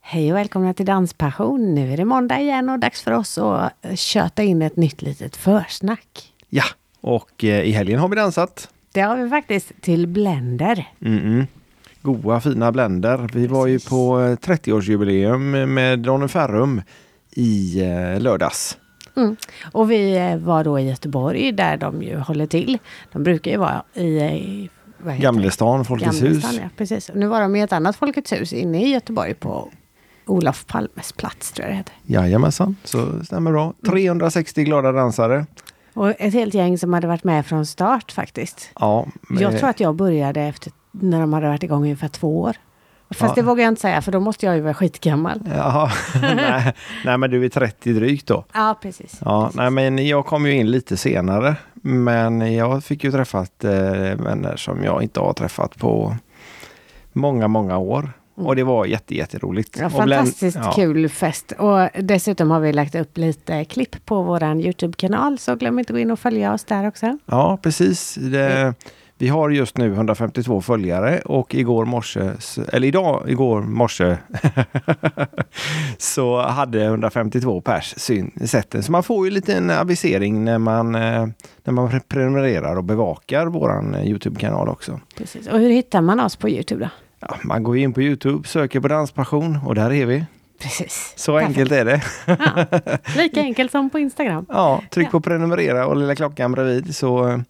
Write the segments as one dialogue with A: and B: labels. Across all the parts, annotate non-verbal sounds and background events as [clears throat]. A: Hej och välkomna till Danspassion. Nu är det måndag igen och dags för oss att eh, köta in ett nytt litet försnack.
B: Ja, och eh, i helgen har vi dansat.
A: Det har vi faktiskt till Blender.
B: Mm-mm. Goa fina bländer. Vi var ju på eh, 30-årsjubileum med Ronny Ferrum i eh, lördags.
A: Mm. Och vi eh, var då i Göteborg där de ju håller till. De brukar ju vara i eh, vad heter det?
B: Gamlestan, Folkets hus.
A: Gamlestan, ja, precis. Och nu var de i ett annat Folkets hus inne i Göteborg på Olof Palmes plats tror jag det heter.
B: Jajamensan, så stämmer bra. 360 glada dansare.
A: Och ett helt gäng som hade varit med från start faktiskt.
B: Ja, men-
A: Jag tror att jag började efter, när de hade varit igång i ungefär två år. Fast det
B: Ja.
A: vågar jag inte säga, för då måste jag ju vara skitgammal.
B: [laughs] Jaha, [laughs] nej, nej, men du är 30 drygt då.
A: Ja, precis.
B: Ja, nej, men jag kom ju in lite senare, men jag fick ju träffat eh, vänner som jag inte har träffat på många, många år. Och det var jätte, jätteroligt.
A: Mm. Ja,
B: Och bland-
A: fantastiskt
B: ja,
A: kul fest. Och dessutom har vi lagt upp lite klipp på vår YouTube-kanal, så glöm inte att gå in och följa oss där också.
B: Ja, precis. Det, vi har just nu 152 följare och igår morse, s- eller idag, igår morse, [laughs] så hade 152 pers syn, sett den. Så man får ju lite en avisering när man, eh, när man pre- prenumererar och bevakar våran eh, YouTube-kanal också.
A: Precis. Och hur hittar man oss på YouTube då?
B: Ja, man går in på Youtube, söker på Danspassion och där är vi.
A: Precis. [laughs]
B: Så
A: Perfekt.
B: enkelt är det.
A: Lika enkelt som på Instagram.
B: Ja, tryck
A: Ja.
B: på prenumerera och lilla klockan bredvid så,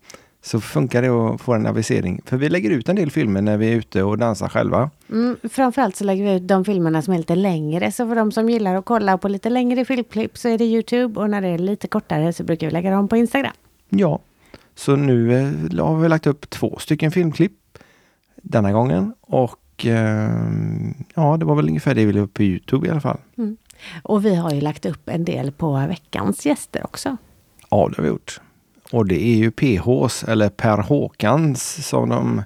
B: så funkar det att få en avisering. För vi lägger ut en del filmer när vi är ute och dansar själva.
A: Mm, framförallt så lägger vi ut de filmerna som är lite längre. Så för de som gillar att kolla på lite längre filmklipp så är det Youtube. Och när det är lite kortare så brukar vi lägga dem på Instagram.
B: Ja, så nu eh, har vi lagt upp två stycken filmklipp denna gången och eh, ja, det var väl ungefär det vi la upp på Youtube i alla fall.
A: Och vi har ju lagt upp en del på veckans gäster också.
B: Ja, det har vi gjort. Och det är ju PHs, eller Per Håkans, som de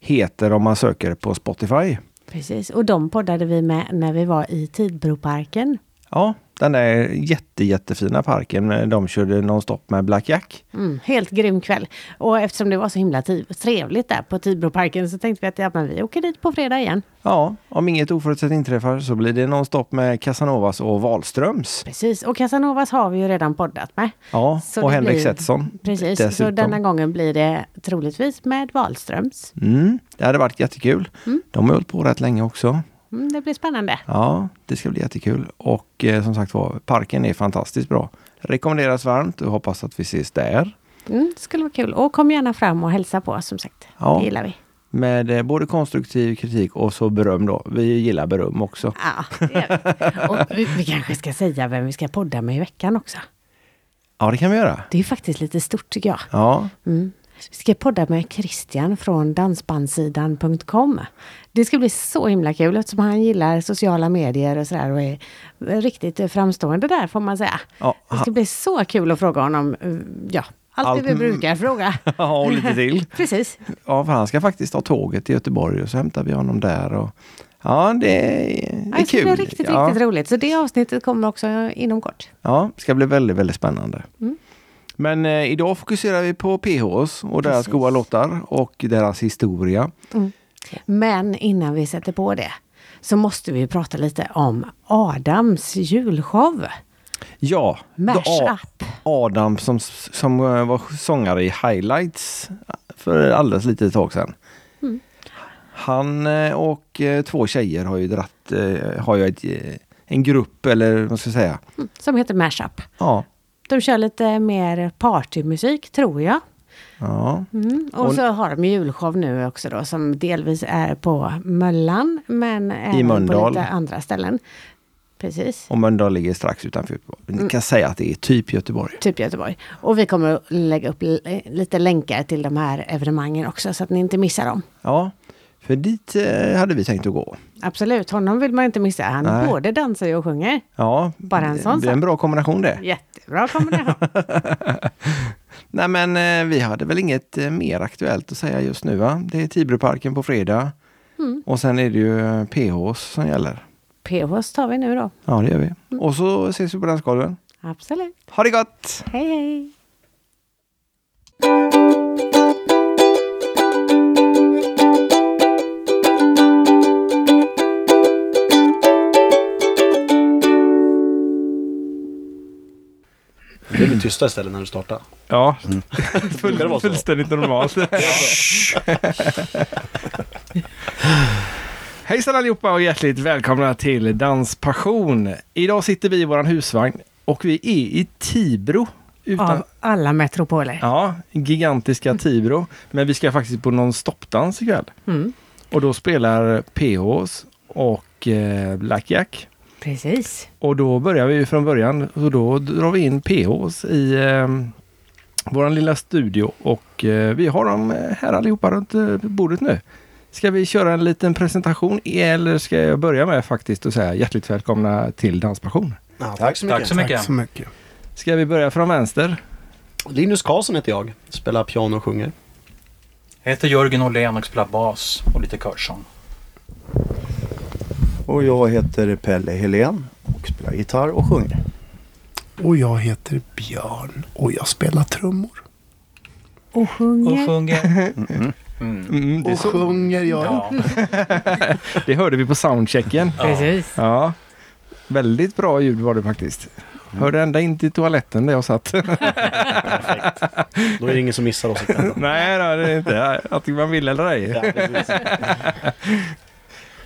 B: heter om man söker på Spotify.
A: Precis, och de poddade vi med när vi var i Tidbroparken.
B: Ja, den där jätte, jättefina parken. eh, De körde nonstop med Black Jack.
A: Mm, helt grym kväll. Och eftersom det var så himla tri- trevligt där på Tidbroparken så tänkte vi att ja, men vi åker dit på fredag igen.
B: Ja, om inget oförutsett inträffar så blir det nonstop med Casanovas och Wahlströms.
A: Precis, och Casanovas har vi ju redan poddat med.
B: Ja,
A: Så
B: och
A: det
B: Henrik
A: blir-
B: Setson.
A: Precis, så
B: dessutom.
A: denna gången blir det troligtvis med Wahlströms.
B: Mm, det hade varit jättekul. De har hållit på rätt länge också.
A: Mm, det blir spännande.
B: Ja, det ska bli jättekul. Och eh, som sagt var, parken är fantastiskt bra. Rekommenderas varmt och hoppas att vi ses där.
A: Mm, det skulle vara kul. Och kom gärna fram och hälsa på oss som sagt.
B: Ja.
A: Det gillar vi.
B: Med eh, både konstruktiv kritik och så beröm då. Vi gillar beröm också.
A: Ja, det gör vi. [laughs] Och vi, vi kanske ska säga vem vi ska podda med i veckan också.
B: Ja, det kan vi göra.
A: Det är faktiskt lite stort tycker jag.
B: Ja,
A: Mm. Vi ska podda med Christian från dansbandsidan.com. Det ska bli så himla kul eftersom han gillar sociala medier och sådär och är riktigt framstående där får man säga.
B: Ja,
A: det ska bli så kul att fråga honom, eh, ja, allt,
B: Allt
A: det vi
B: m-
A: brukar
B: [laughs]
A: fråga.
B: Ja, och lite till.
A: Precis.
B: Ja, för han ska faktiskt ta tåget till Göteborg och så hämtar vi honom där. Och... Ja, det är, det
A: Ja,
B: är
A: det ska
B: kul.
A: bli riktigt,
B: ja.
A: riktigt roligt. Så det avsnittet kommer också inom kort.
B: Ja, det ska bli väldigt, väldigt spännande.
A: Mm.
B: Men eh, idag fokuserar vi på PHs och deras
A: Precis.
B: goa låtar och deras historia.
A: Men innan vi sätter på det så måste vi ju prata lite om Adams julshow.
B: Ja,
A: Mash
B: då A-
A: up.
B: Adam som, som eh, var sångare i Highlights eh, för alldeles lite tag sedan.
A: Mm.
B: Han eh, och eh, två tjejer har ju dratt, eh, har ju ett, eh, en grupp eller vad ska jag säga?
A: Som heter Mashup.
B: Ja.
A: De kör lite mer partymusik, tror jag.
B: ja.
A: Mm. Och, så har de julshow nu också då, som delvis är på Möllan, men även på
B: Mölndal.
A: lite andra ställen. Precis.
B: Och Mölndal ligger strax utanför Göteborg. Ni kan säga att det är typ Göteborg.
A: Typ Göteborg. Och vi kommer att lägga upp l- lite länkar till de här evenemangen också, så att ni inte missar dem.
B: Ja, för dit eh, hade vi tänkt att gå.
A: Absolut, honom vill man inte missa. Han
B: Nej.
A: både dansar ju och sjunger.
B: Ja,
A: Bara en sån
B: det är en
A: sak.
B: bra kombination det.
A: Jättebra kombination.
B: [laughs] Nej men eh, vi hade väl inget eh, mer aktuellt att säga just nu va? Det är Tibroparken på fredag. Och sen är det ju eh, PHs som gäller.
A: PHs tar vi nu då.
B: Ja, det gör vi. Och så ses vi på dansgolven.
A: Absolut.
B: Ha det gott!
A: Hej hej!
C: tysta istället när du startar.
B: Ja, [laughs]
C: Brukar det vara så?
B: fullständigt normalt. [laughs] Hejsan allihopa och hjärtligt välkomna till Danspassion. Idag sitter vi i våran husvagn och vi är i Tibro. Utan,
A: Av alla metropoler.
B: ja, gigantiska Tibro. Men vi ska faktiskt på någon stoppdans ikväll.
A: Mm,
B: Och då spelar PHs och eh, Black Jack.
A: precis.
B: Och då börjar vi ju från början och då drar vi in PHs i eh, vår lilla studio och eh, vi har dem eh, här allihopa runt eh, bordet nu. Ska vi köra en liten presentation eller ska jag börja med faktiskt och säga hjärtligt välkomna till Danspassion.
C: Ja, tack så mycket.
D: Tack så mycket.
E: Tack så mycket.
B: Ska vi börja från vänster?
C: Linus Karlsson heter jag. Spelar piano och sjunger.
D: Jag heter Jörgen Åhlén och spelar bas och lite körsång.
F: Och jag heter Pelle Helén och spelar gitarr och sjunger.
E: Och jag heter Björn och jag spelar trummor.
A: Och
D: Och
A: sjunger.
D: sjunger.
B: Mm, det,
E: Och sjunger jag.
D: Ja.
B: det hörde vi på soundchecken.
A: Precis.
B: [laughs] Ja, väldigt bra ljud var det faktiskt. Hörde ända in till toaletten där jag satt.
C: Då är det ingen som
E: [laughs]
C: missar oss. ikväll.
B: [laughs] Nej, då, det är inte. Antingen man vill eller ej.
C: Ja, precis.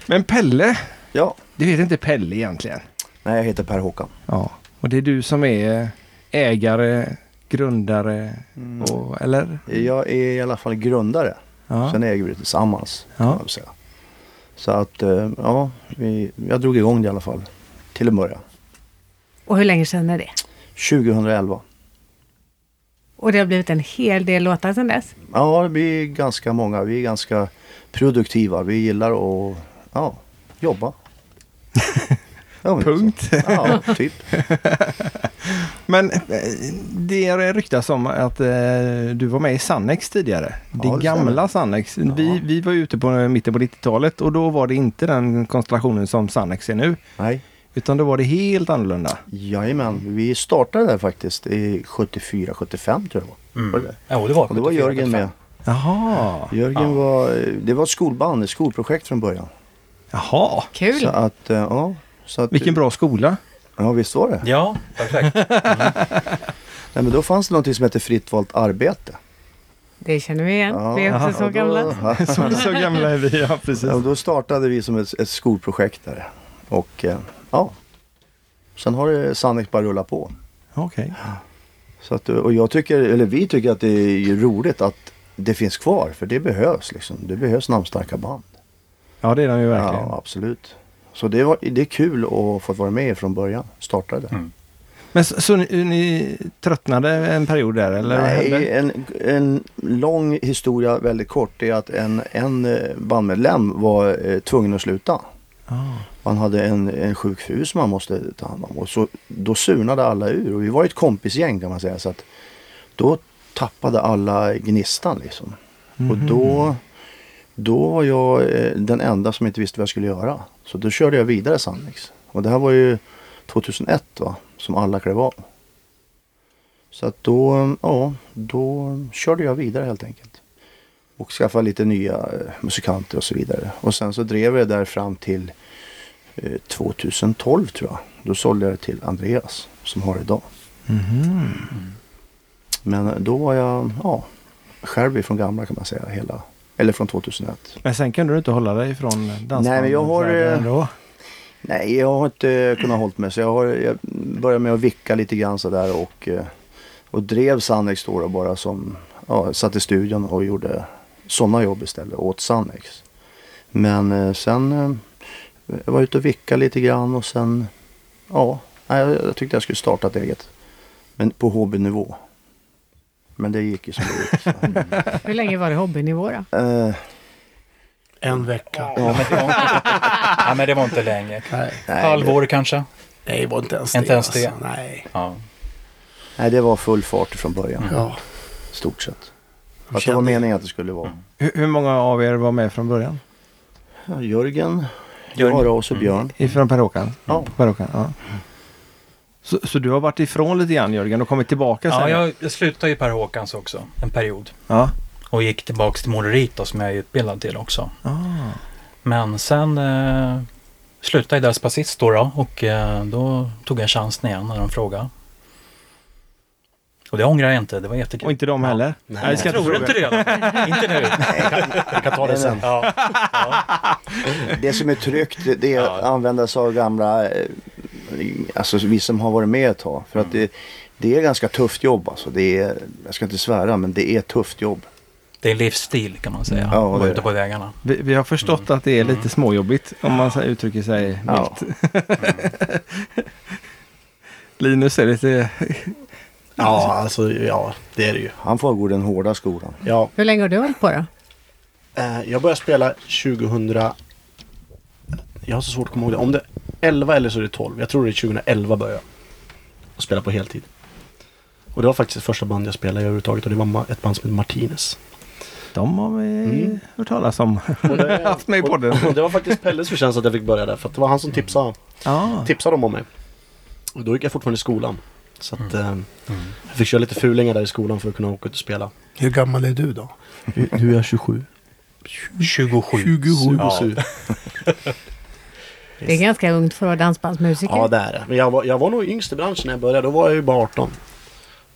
B: Men Pelle,
F: Ja,
B: du heter inte Pelle egentligen.
F: nej jag heter Per Håkan.
B: Ja, och det är du som är ägare, grundare
F: Mm.
B: och, eller?
F: Jag är i alla fall grundare.
B: Ja.
F: Sen äger vi det tillsammans. kan
B: Ja.
F: man väl säga. Så att, eh, ja, vi, jag drog igång det i alla fall. Till en början.
A: Och hur länge sedan är det?
F: 2011.
A: Och det har blivit en hel del låtar sedan dess.
F: Ja, det blir ganska många. Vi är ganska produktiva. Vi gillar att ja,
B: [laughs]
F: jobba. Ja, men så.
B: Punkt.
F: Ja, typ.
B: Men eh, det ryktas om att eh, du var med i Sannex tidigare. det,
F: Ja, det
B: gamla Sannex. Vi, vi var ute på eh, mitten på 90-talet och då var det inte den konstellationen som Sannex är nu.
F: Nej.
B: Utan då var det helt annorlunda.
F: Jajamän, vi startade där faktiskt i 74-75 tror jag det var.
B: Mm.
D: Mm.
F: var. det?
D: Jo, det var
F: Mm. Och det var
D: 74,
F: Jörgen med.
B: Jaha.
F: Jörgen var, det var ett skolband, ett skolprojekt från början.
B: Jaha.
A: Kul!
F: Så att, eh, ja. Så att,
B: Vilken bra skola.
F: Ja, visst var det.
D: Ja, perfekt.
F: Nej, men då fanns det någonting som hette fritt valt arbete.
A: Det känner vi igen.
F: Ja,
A: vi är också så
F: och då-
A: gamla.
B: [laughs] Så, så gamla är vi, ja precis.
F: Ja, och då startade vi som ett, ett skolprojekt där. Och eh, ja, sen har det sannolikt bara rullat på.
B: Okej.
F: Så att, och jag tycker, eller vi tycker att det är ju roligt att det finns kvar. För det behövs liksom. Det behövs namnstarka band.
B: Ja det är de ju verkligen.
F: Ja, absolut. Så det, var, det är kul att få vara med från början. Startade.
B: Men så, så ni, ni tröttnade en period där eller? vad
F: Nej,
B: hände?
F: en, en lång historia väldigt kort det är att en, en eh, bandmedlem var eh, tvungen att sluta.
B: Ah.
F: Man hade en, en sjuk fru som man måste ta hand om. Och så, då surnade alla ur och vi var ju ett kompisgäng kan man säga. Så att då tappade alla gnistan liksom. Och då, då var jag eh, den enda som inte visste vad jag skulle göra. Så då körde jag vidare Sandex. Och det här var ju 2001 va, som alla klev av. Så att då, ja, då körde jag vidare helt enkelt. Och skaffade lite nya eh, musikanter och så vidare. Och sen så drev jag det där fram till eh, 2012 tror jag. Då sålde jag det till Andreas som har det idag.
B: mhm.
F: Men då var jag, ja, Sherby från gamla kan man säga hela. Eller från 2001.
B: Men sen kunde du inte hålla dig från dansbanden?
F: Nej, men jag har,
B: så här
F: eh,
B: ändå.
F: Nej, jag har inte eh, kunnat hålla mig. Så jag, har, jag började med att vicka lite grann sådär och, eh, och drev Sannex då, då bara som, ja, satt i studion och gjorde sådana jobb istället åt Sannex. Men eh, sen eh, jag var ute och vicka lite grann och sen, ja, nej, jag, jag tyckte jag skulle starta ett eget. Men på hobbynivå. Men det gick ju som det
E: [laughs]
F: gick. Så.
A: Hur länge var det hobbynivå då?
F: Eh,
E: En vecka.
D: Ja, men det var inte, ja, men det var inte länge.
E: Nej,
F: nej,
D: Halvår kanske?
E: nej, det var inte ens
D: Inte
E: det.
D: ens det.
E: Alltså. Nej.
D: Ja.
F: Nej, det var full fart från början.
E: Ja.
F: Stort sett.
E: Jag
F: Att det var
E: kände-
F: meningen att det skulle vara.
B: Hur, hur många av er var med från början?
F: Ja, Jörgen,
D: Jörgen.
F: Jara och
C: Mm.
F: så Björn.
B: Ifrån Per-Håkan?
F: Ja.
B: Per-Håkan, ja. Så, så du har varit ifrån lite grann Jörgen och kommit tillbaka sen?
D: ja jag, jag slutade ju Per Håkans också en period.
B: ja.
D: Och gick tillbaks till Morerit då, som jag är utbildad till också.
B: Ah.
D: Men sen eh, slutade jag i Despacito då och eh, då tog jag chansen igen när de frågade. Och det ångrar jag inte, det var jättekul.
B: Och inte de heller.
C: Nej,
B: vi ska
D: jag tror
B: fråga.
D: inte det. inte nu.
C: Vi kan ta det sen.
D: Ja.
F: eh, Det som är tryggt det- det är att använda sig av gamla, eh, alltså vi som har varit med ett tag. För
C: Mm.
F: att det, det är ganska tufft jobb alltså. Det är, jag ska inte svära men det är tufft jobb.
D: Det är en livsstil kan man säga,
F: Ja,
D: att vara
F: det är
D: ute på vägarna.
B: Vi, vi har förstått att det är lite småjobbigt om man så här uttrycker sig
F: Mm. Ja.
B: milt. Linus är lite...
C: Ja, alltså ja, det är det ju.
F: Han får gå den hårda skolan.
C: Ja,
A: Hur länge har du hållit på då?
C: eh, jag började spela 2000... Jag har så svårt att komma ihåg det. Om det är 11 eller så är det 12. Jag tror det är 2011 började jag att spela på heltid. Och det var faktiskt första band jag spelade överhuvudtaget och det var ma- ett band som hette Martinez.
B: De har vi
F: Mm.
B: hört talas om.
C: Och [laughs] det,
B: [laughs] Haft med i podden.
C: och- och det var faktiskt Pelles förtjänst att jag fick börja där för att det var han som tipsade,
E: Mm.
B: Ja.
C: tipsade dem om mig. Och då gick jag fortfarande i skolan. Så att eh,
E: Mm.
C: jag fick köra lite fulingar där i skolan för att kunna åka ut och spela.
E: Hur gammal är du då?
C: Nu är jag 27.
D: 27.
E: 27.
C: Ja.
A: Det är ganska ungt för att vara dansbandsmusiker.
C: Ja det är det. Men jag var, jag var nog yngst i branschen när jag började. Då var jag ju bara 18.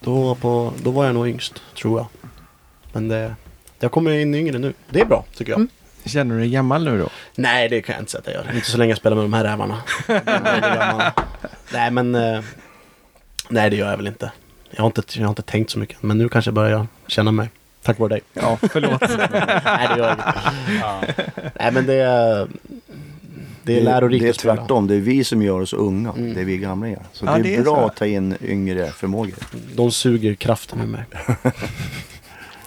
C: Då, på, då var jag nog yngst, tror jag. Men det... Jag kommer in yngre nu. Det är bra, tycker jag.
B: Känner du dig gammal nu då?
C: Nej, det kan jag inte säga att jag gör. Inte så länge jag spelar med de här rävarna. Jag blir väldigt gammal. nej, men... eh, Nej, det gör jag väl inte. Jag har inte, jag har inte tänkt så mycket. Men nu kanske jag börjar känna mig. Tack vare dig.
B: Ja, förlåt.
C: nej, det gör jag inte. Nej, men det... är- Det är lärorikt
F: det är
C: att spela. Mm.
F: tvärtom. Det är vi som gör oss unga. Det är vi gamlingar. Så
B: Ja,
F: det är,
B: det är
F: bra
B: så.
F: att ta in yngre förmågor.
C: De suger kraften ur mig.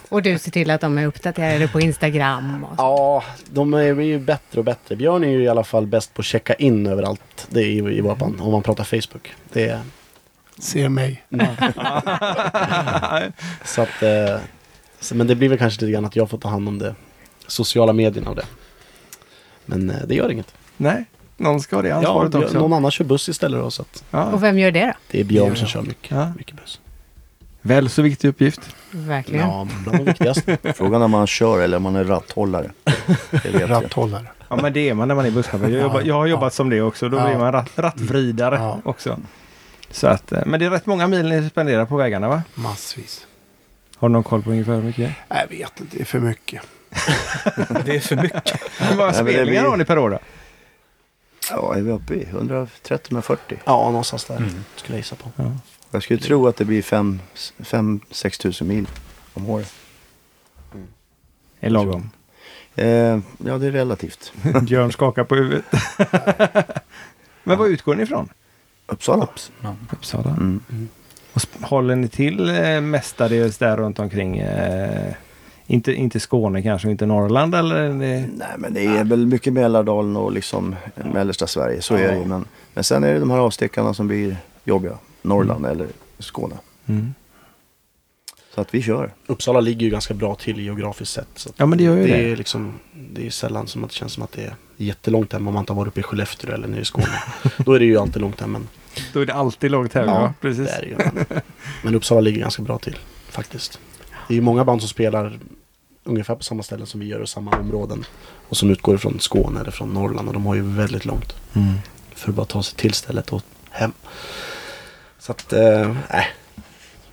A: Och du ser till att de är uppdaterade på Instagram. Och så.
C: Ja, de är ju bättre och bättre. Björn är ju i alla fall bäst på att checka in överallt. Det är ju i våra band, om man pratar Facebook. Det är,
E: Ser mig.
C: [laughs] så att, eh, så, men det blir väl kanske lite grann att jag får ta hand om det sociala medierna och det. Men eh, det gör inget.
B: Nej, någon ska ha det
C: Ja,
B: ansvaret
C: Björn-
B: också.
C: någon annan kör buss istället då, så att
B: Ja.
A: Och vem gör det då?
C: det är Björn som kör mycket,
B: Ja.
C: mycket buss.
B: Väl så viktig uppgift.
A: Verkligen.
C: Ja, bland de
B: [laughs]
C: viktigaste.
F: Frågan är om man kör eller om man är ratthållare. Det vet jag.
E: Ratthållare.
B: Ja, men det är man när man är busschaufför. Jag, jobbar, jag har jobbat som det också. Då
E: Ja.
B: blir man rat, rattvridare
E: Ja.
B: också. Så att, eh, men det är rätt många mil ni spenderar på vägarna va?
E: Massvis.
B: Har du någon koll på ungefär hur mycket?
E: Jag vet inte, det är för mycket.
D: Det är för mycket.
B: Hur [laughs] många
F: men det
B: spelningar
F: blir-
B: har ni per år då?
F: Ja, är vi uppe i 130-140?
C: Ja, någonstans där
B: Mm.
C: skulle jag gissa på.
F: Jag skulle tro att det blir 5-6 tusen mil om året.
B: Är lagom.
F: Eh, ja, det är relativt.
B: Björn skakar på huvudet. [laughs] men var utgår ni ifrån?
F: Uppsala.
B: Uppsala.
F: Mm.
B: Och sp- håller ni till eh, mestadels där runt omkring? Eh, inte, inte Skåne kanske, och inte Norrland eller? är det-
F: Nej, men det är väl mycket Mälardalen och liksom mellersta Sverige. Så är det ju. Men, men sen är det de här avstickarna som blir jobbiga. Norrland eller Skåne.
B: Mm.
F: Så att vi kör.
C: Uppsala ligger ju ganska bra till geografiskt sett. Så att
B: Ja men det gör ju
C: Det
B: det.
C: är, liksom, det är sällan som att det känns som att det är jättelångt hem om man inte har varit uppe i Skellefteå eller nere
B: [laughs]
C: i Skåne. Då är det ju alltid långt hem, men
B: Då är det alltid lågt här.
C: Ja,
B: Ja, precis.
C: det är det ju. Men, [laughs] men Uppsala ligger ganska bra till faktiskt. Det är ju många band som spelar ungefär på samma ställen som vi gör och samma områden. Och som utgår från Skåne eller från Norrland och de har ju väldigt långt
B: Mm.
C: för att bara ta sig till stället och hem. Så att, eh, nej.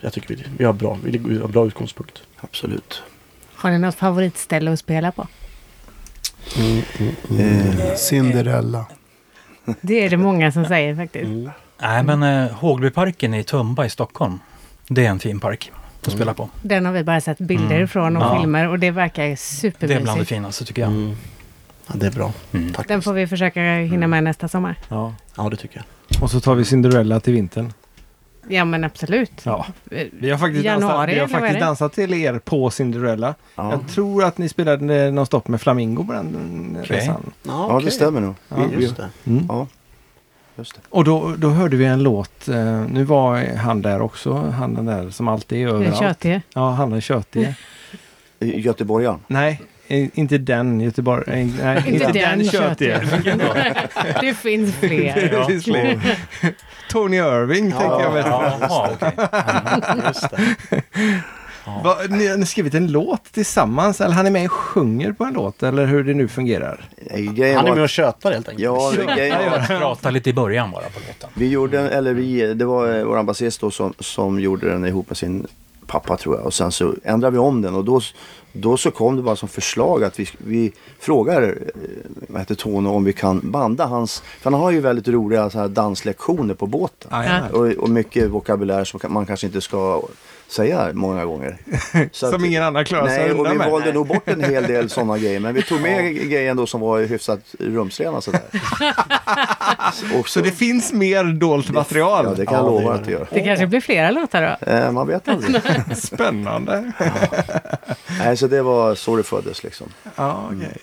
C: Jag tycker vi, vi har bra, vi ligger- vi har bra utgångspunkt.
F: Absolut.
A: Har ni något favoritställe att spela på?
C: Mm,
F: Eh,
E: Cinderella.
A: Det är det många som säger faktiskt.
C: Mm.
D: Nej, men eh, Hågbyparken i Tumba i Stockholm. Det är en fin park
F: Mm.
D: att spela på.
A: Den har vi bara sett bilder ifrån och
D: Ja.
A: filmer och det verkar ju
D: Det är bland det
A: supermysigt.
D: finaste tycker
F: Mm.
D: jag.
C: Ja, det är bra.
D: Mm.
C: Tack.
A: Den får vi försöka hinna med nästa sommar.
B: Ja.
C: Ja, det tycker jag.
B: Och så tar vi Cinderella till vintern.
A: Ja men absolut.
B: Ja.
A: Eh,
B: Vi har faktiskt, dansat,
A: Januari,
B: vi har
A: eller vad är
B: faktiskt
A: det?
B: dansat till er på Cinderella.
F: Ja,
B: Jag tror att ni spelade eh, någon stopp med Flamingo på den eh,
D: Okej.
B: resan.
F: ja det stämmer nog.
B: Ja,
F: Vi- vi-
C: Just det.
B: Mm.
F: Ja, just det.
B: Och då, då hörde vi en låt. eh, Nu var han där också, han den där som alltid är
A: Den
B: överallt.
A: tjötige.
B: Ja, han är tjötig.
F: Göteborgaren.
B: Nej, i- inte den Göteborg. eh, Nej,
A: Inte den
B: tjötige.
A: tjötige. [laughs] Det finns [laughs] fler.
B: [laughs] Det finns fler. Tony Irving tänkte jag mest.
D: Jaha, okej.
C: Just det.
B: Va, ni har ni skrivit en låt tillsammans eller han är med och sjunger på en låt eller hur det nu fungerar?
F: Grejen
C: Han är
F: var-
C: med och tjötar helt enkelt.
F: Ja,
C: [laughs]
F: grejen var-
D: Prata lite i början bara på låten.
F: Vi gjorde, en- eller vi, det var eh, våran basist då som, som gjorde den ihop med sin pappa tror jag. Och sen så ändrade vi om den och då, då så kom det bara som förslag att vi, vi frågar eh, vad heter Tony om vi kan banda hans, för han har ju väldigt roliga så här danslektioner på båten.
B: Ah, Ja.
F: Och, och mycket vokabulär som kan- man kanske inte ska säga
B: [laughs]
F: många gånger. Så
B: Som ingen annan klarar sig
F: Nej, och
B: undan
F: vi
B: med.
F: valde nog bort en hel
B: [laughs]
F: del sådana grejer. Men vi tog med grejen då som var hyfsat
B: [laughs]
F: rumsrena sådär. Och
B: Så det finns mer dolt material?
F: Ja, det kan jag
C: Ja, det
F: lova
C: gör
F: att det gör.
A: Det kanske blir flera låtar då?
F: Eh, man
A: [laughs]
F: vet aldrig.
B: Spännande.
F: Nej, så det var så det föddes liksom.
B: Ja, okej.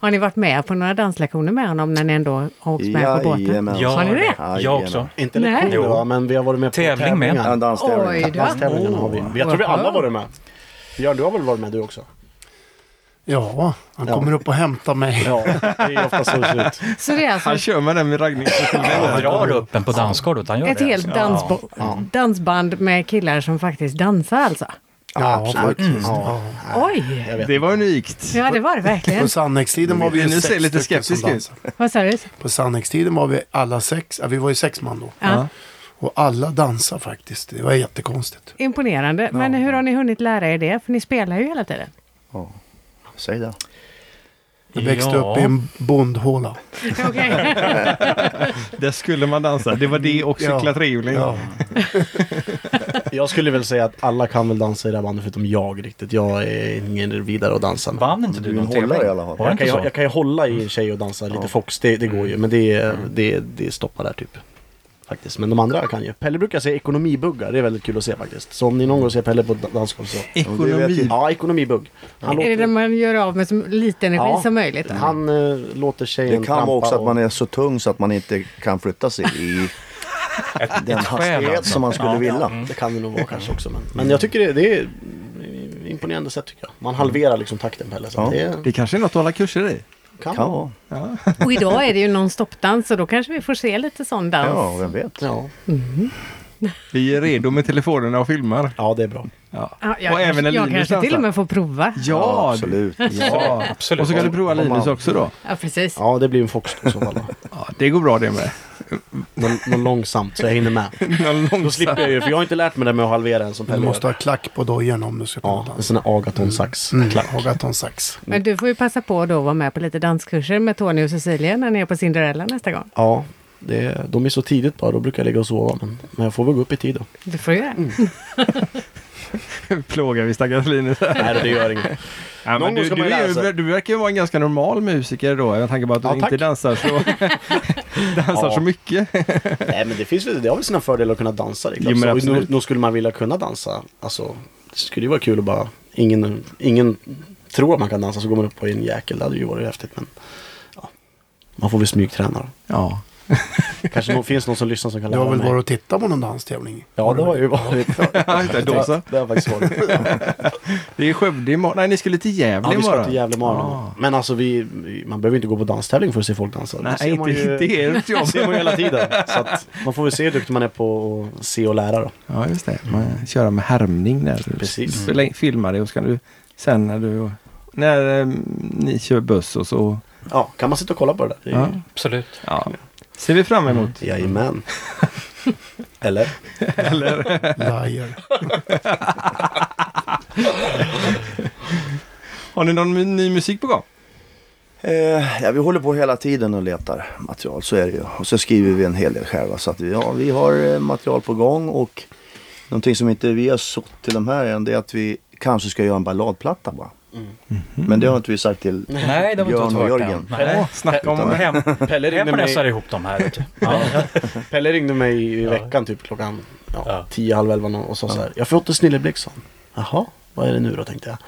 A: Har ni varit med på några danslektioner med honom när ni ändå har åkt med på båten?
F: Jajamän.
A: Har ni det?
F: Jajamän.
D: Jag också.
C: Inte
A: Nej.
C: lektioner va, men vi har varit med på
D: Tävling med.
F: Ja,
C: tävlingar.
F: En danstävling.
A: Oj då.
C: Danstävlingarna har vi. Jag tror vi alla har varit med. Björn, du har väl varit med du också?
E: Ja, han
C: Ja.
E: kommer upp och hämtar mig.
C: Ja, det är ofta så det ser ut.
A: Så det är
B: Han
A: alltså
B: kör med den med raggningsmetoden.
D: Han drar upp en på dansgolvet. Han gör
A: ett
D: det.
A: helt dansbo- dansband med killar som faktiskt dansar alltså?
F: Ja, absolut.
C: Ja,
A: Oj!
C: jag vet.
B: Det var unikt.
A: Ja, det var det verkligen.
E: På Sannäckstiden var vi ju
B: Nu ser jag
E: sex
B: lite
E: stycken som
B: skeptisk ut.
E: dansade.
A: Vad sa du?
E: På Sannäckstiden var vi alla sex, ja, vi var ju sex man då.
A: Ja.
E: Och alla dansade faktiskt. Det var jättekonstigt.
A: Imponerande. Men hur har ni hunnit lära er det? För ni spelar ju hela tiden.
F: Säg det.
E: Jag växte
D: Ja.
E: upp i en bondhåla.
A: Okej.
B: Där skulle man dansa. Det var det och
E: Ja.
B: cykla trehjuling.
E: Ja.
C: Jag skulle väl säga att alla kan väl dansa i det här bandet förutom jag riktigt. Jag är ingen vidare att dansa. med.
D: Vann inte du
F: Du
D: någon
F: håller i
D: tävling?
F: alla fall.
D: Var
C: Jag
D: det
C: kan,
D: inte
C: ju,
D: så?
C: jag kan ju hålla i en tjej och dansa lite fox, det, det går ju. Men det, är- det, det stoppar där typ. Faktiskt. Men de andra kan ju. Pelle brukar säga ekonomibuggar, det är väldigt kul att se faktiskt. Så om ni någon gång ser Pelle på ett dansgolv så...
B: Ekonomi.
C: Ja, ekonomibugg. Han
A: Är det
C: låter,
A: den man gör av med så lite energi
C: Ja.
A: som möjligt?
C: han, eh, låter tjejen
F: Det kan vara också att man
C: är...
F: är så tung så att man inte kan flytta sig i den hastighet
D: alltså.
F: som man skulle
D: Ja.
F: vilja.
C: Det kan det nog vara kanske också. Men, men jag tycker det, det är imponerande sätt tycker jag. Man halverar liksom takten Pelle. Så
F: Ja.
C: det
B: Det kanske är något att hålla kurser i.
C: kan
F: Kan
C: vara.
F: vara.
A: Och idag är det ju non-stop-dans så då kanske vi får se lite sån dans.
F: Ja, vem vet.
C: Ja.
B: Vi är redo med telefonerna och filmar.
C: ja, det är bra.
B: Ja.
A: Ja, jag
B: Och även när
A: jag
B: Linus
A: kanske till
B: dansar.
A: och med får prova.
B: Ja,
F: absolut.
B: Ja,
D: absolut.
B: Och så kan du prova
F: Om man-
B: Linus också då.
A: Ja, precis.
C: Ja, det blir en fox då i så fall. då.
B: Ja, det går bra det med.
C: Nå- Något långsamt så jag hinner med.
B: Någon
C: Då
B: lång-
C: slipper jag ju, för jag har inte lärt mig det med att halvera en som
E: Du
C: Pelle
E: måste
C: gör.
E: ha klack på dojan om du ska kunna
C: Ja, en
E: dansa.
C: sån här agatonsax.
E: Mm,
C: Klack.
E: Agaton Sax.
A: Men du får ju passa på då att vara med på lite danskurser med Tony och Cecilia när ni är på Cinderella nästa gång.
C: Ja, det, de är så tidigt bara, då brukar jag ligga och sova. Men, men jag får väl gå upp i tid då.
A: Du får ju det.
B: plågar vi stackars Linus.
C: Nej, det gör inget.
B: Ja,
C: Någon
B: men du,
C: gång ska man
B: du,
C: ju
B: är,
C: lära
B: ju-
C: sig.
B: du verkar ju vara en ganska normal musiker då, med tanke på att du
C: Ja,
B: inte
C: tack.
B: dansar
C: [laughs]
B: så, dansar
C: Ja.
B: så mycket.
C: Nej, men det finns väl, det har väl sina fördelar att kunna dansa. det är klart.
B: Jo, men
C: Så
B: absolut.
C: nog, nog skulle man vilja kunna dansa. Alltså, det skulle ju vara kul att bara, ingen, ingen tror att man kan dansa så går man upp på en jäkel. Det hade ju varit häftigt, men ja. Man får väl smygträna då.
B: Ja.
C: Kanske någon, finns någon som lyssnar som kan
E: Du
C: lära
E: har väl
C: mig.
E: varit och tittat på någon danstävling?
C: Ja, det har jag ju
B: [laughs]
C: varit.
B: då så.
C: Det har jag faktiskt varit.
B: Det är Skövde imorgon. Nej, ni skulle till Gävle
C: Ja, vi ska
B: imorgon.
C: till Gävle imorgon.
B: Ah.
C: Men alltså vi, man behöver inte gå på danstävling för att se folk dansa. Det
B: Nej,
C: ser man
B: inte,
C: ju,
B: inte ert jobb. [laughs]
C: det ser man ju hela tiden. Så att man får väl se hur duktig man är på att se och lära då.
B: Ja, just det. Man köra med härmning där.
C: Precis.
B: Spela in- Filma det och ska du sen när du... När eh, ni kör buss och så.
C: Ja, kan man sitta och kolla på det där?
B: Ja.
D: Absolut.
B: ja. Ser vi fram emot.
C: Jajamän. Eller?
E: Liar.
B: Har ni någon mu- ny musik på gång?
F: Eh, ja, vi håller på hela tiden och letar material, så är det ju. Och så skriver vi en hel del själva. Så att vi, ja, vi har eh, material på gång och någonting som inte vi har sått till de här än det är att vi kanske ska göra en balladplatta bara. Men det har inte vi sagt till
D: Mm. [laughs] Nej, det var
F: Björn
D: inte
F: och
D: vårt
F: Jörgen.
D: än. Nej.
B: Åh, snacka om...
D: Hem,
C: Pelle ringde,
D: hem pressar
C: mig,
D: ihop de här. vet du. Ja.
C: Pelle ringde mig i veckan typ klockan ja,
D: Ja.
C: tio, halv elva och sa så här. Jag har fått en snilleblixt sa han. Jaha, vad är det nu då tänkte jag.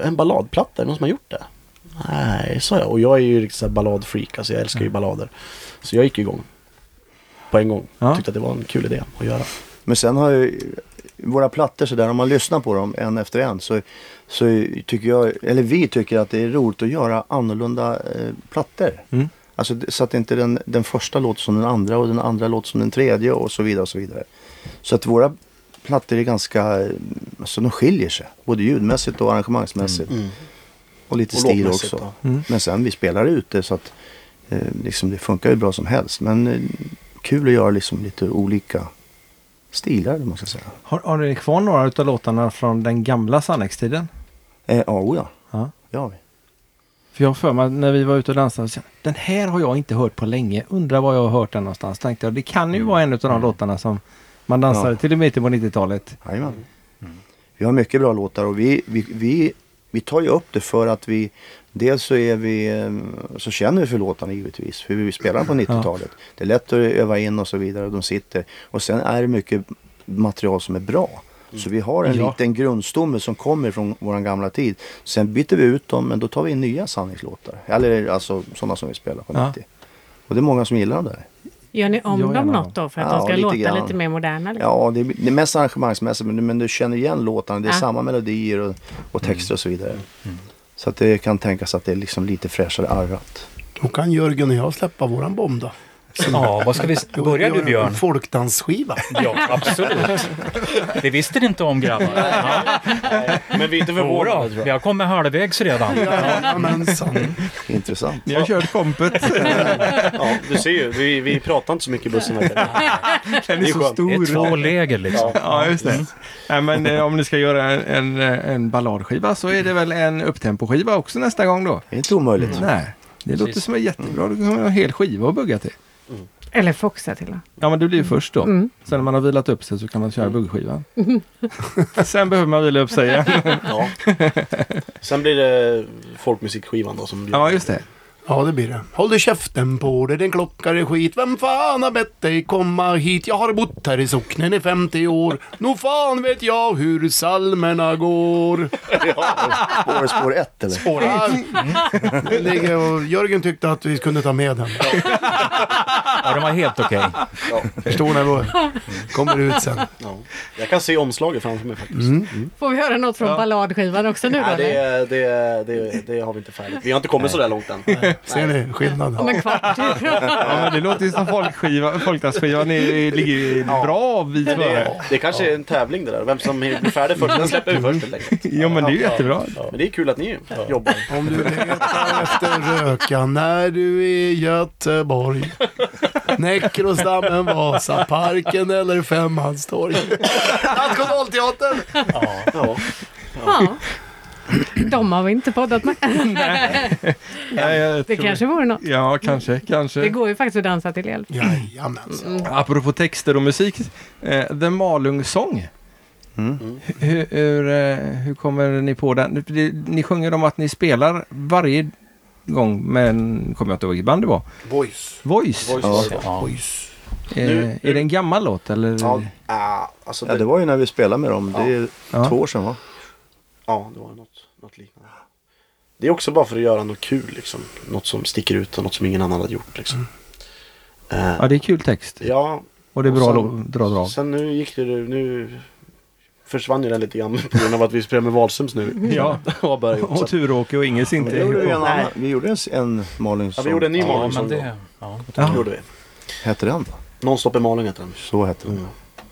C: "Eh, En balladplatta, är det någon som har gjort det? Nej, sa jag. Och jag är ju riktigt så här balladfreak, alltså jag älskar ju ballader. Så jag gick igång. På en gång.
B: Ja.
C: Tyckte att det var en kul idé att göra.
F: Men sen har ju våra plattor sådär, om man lyssnar på dem en efter en så, så tycker jag, eller vi tycker att det är roligt att göra annorlunda eh, plattor.
B: Mm.
F: Alltså det- så att inte den, den första låter som den andra och den andra låter som den tredje och så vidare och så vidare. Så att våra plattor är ganska, eh, alltså de skiljer sig. Både ljudmässigt och arrangemangsmässigt. Och lite
C: Mm, Och
F: stil
C: låtmässigt
F: också. Men sen vi spelar ute så att eh, liksom, det funkar ju bra som helst. Men eh, kul att göra liksom lite olika stilar, om man ska säga.
B: Har, har ni kvar några utav låtarna från den gamla Sannex-tiden?
F: Eh, ja, oja.
B: Ja.
F: Det har vi.
B: För jag har för mig att när vi var ute och dansade, så, den här har jag inte hört på länge. Undrar var jag har hört den någonstans. Tänkte jag, det kan ju vara en utav de låtarna som man dansade
F: Ja.
B: till och med till på 90-talet.
F: Jajamän. Vi har mycket bra låtar och vi, vi, vi, vi tar ju upp det för att vi Dels så, är vi, eh, så känner vi för låtarna givetvis, för vi spelar på 90-talet. Det är lätt att öva in och så vidare och de sitter. Och sen är det mycket material som är bra. Så vi har en
B: Ja.
F: liten grundstomme som kommer från våran gamla tid. Sen byter vi ut dem men då tar vi in nya sanningslåtar. Eller alltså sådana som vi spelar på
B: Ja.
F: 90. Och det är många som gillar dem där.
A: Gör ni om
B: Jag
A: dem
B: gärna
A: något då för att
F: Ja,
A: de ska
F: lite
A: låta
F: grann.
A: lite mer moderna? Liksom?
F: Ja, det, det är mest arrangemangsmässigt men, du- men du känner igen låtarna. Det är
A: Ja.
F: samma melodier och, och
C: Mm.
F: texter och så vidare. Så att det kan tänkas att det är liksom lite fräschare arrat. [laughs]
E: Då kan Jörgen och jag släppa våran bomb då.
D: Ja, vad ska vi...
E: Då
D: Börjar
E: gör vi
D: du
E: en
D: Björn?
E: Folkdansskiva.
D: Ja, absolut. Det visste ni inte om grabbar. Ja.
C: Men vi är inte
D: Jodå,
C: förvånade.
D: vi har kommit halvvägs redan.
E: Jajamensan.
F: Intressant.
B: Ni har kört [laughs] kompet.
C: Ja, du ser ju. Vi, vi pratar inte så mycket i bussen. verkar det.
B: Den är
C: Det är
B: så
C: skönt.
D: Det är två
B: stor.
D: läger liksom.
B: Ja, just det. Nej, men eh, om ni ska göra en, en, eh, en balladskiva så är det väl en upptemposkiva också nästa gång då?
F: Det är inte omöjligt.
C: Mm.
B: Nej, det låter som en jättebra. Då kommer jag ha en hel skiva att bugga till.
A: Eller foxa till dem.
B: Ja, men det blir ju först då. Sen när man har vilat upp sig så kan man köra buggskivan. Sen behöver man vila upp sig igen.
C: Ja.
B: [laughs]
C: Sen blir det folkmusikskivan då som blir...
B: Ja,
C: [laughs]
B: just det.
E: Ja, det blir det. Håll du käften på dig, din klockare skit. Vem fan har bett dig komma hit? Jag har bott här i socknen i 50 år. Nå fan vet jag hur salmerna går.
F: Spår, spår
C: [laughs]
F: ett eller?
E: Ja, det ligger och Jörgen tyckte att vi kunde ta med den.
D: Ja, de var helt okej.
E: Förstår ni vad? Kommer ut sen.
C: Ja. Jag kan se omslaget framför mig faktiskt.
B: Mm.
A: Får vi höra något från balladskivan också nu då?
C: Nej,
A: eller?
C: det, det, det, det har vi inte färdigt. Vi har inte kommit så där
B: [laughs]
C: långt än.
E: Ser ni skillnaden?
A: Om en kvart.
B: Ja, men det låter ju som folkskiva, folkdansskivan är, ligger ju bra vid före.
C: Det, det kanske är en tävling det där. Vem som blir färdig först, den släpper vi först helt enkelt.
B: Jo, men det är ju jättebra.
C: Men det är kul att ni jobbar.
E: Om du letar efter röka när du är i Göteborg. Näckrosdammen, Vasaparken eller Femmanstorg. Nationalteatern!
C: Ja.
A: Ja. De har vi inte poddat med.
B: Ja, jag
A: Det
B: tror-
A: kanske vore något.
B: Ja, kanske, kanske.
A: Det går ju faktiskt att dansa till el.
E: Jajamensan.
B: Mm, Apropå texter och musik, eh, The Malung Song. Hur, hur, eh, hur kommer ni på den? Det- Ni sjunger om att ni spelar varje gång, men kommer jag inte ihåg vilket band det var.
C: Voice.
B: Voice.
C: Voice.
F: Ja.
D: Ja.
B: Eh,
C: Nu-
B: är det en gammal låt eller?
C: Ja, ah, alltså
F: Ja,
C: det,
F: det var ju när vi spelade med dem. Det är
B: Ja.
F: två år sedan va?
C: ja, det var något, något liknande. Det är också bara för att göra något kul liksom. Något som sticker ut och något som ingen annan har gjort liksom. Eh,
B: Mm. Ja, det är kul text.
C: ja,
B: Och det är
C: och
B: bra
C: sen-
B: lå- bra drag.
C: sen nu gick det nu försvann ju den lite grann på grund av att vi spelade med Wahlströms
B: [laughs]
C: nu. [laughs]
B: Ja.
C: och har börjat gjort. Så
B: Och
C: att-
B: Turåke och Ingels inte.
F: Vi gjorde, ju en,
C: Nej.
F: annan- vi gjorde en, s- en Malin
C: Ja, vi gjorde en ny
D: ja,
C: Malung
D: men
C: som
D: det... Ja.
B: Ja.
C: gjorde vi.
F: Hette den då?
C: Nonstop i Malung heter den.
F: Så hette den.
C: Mm.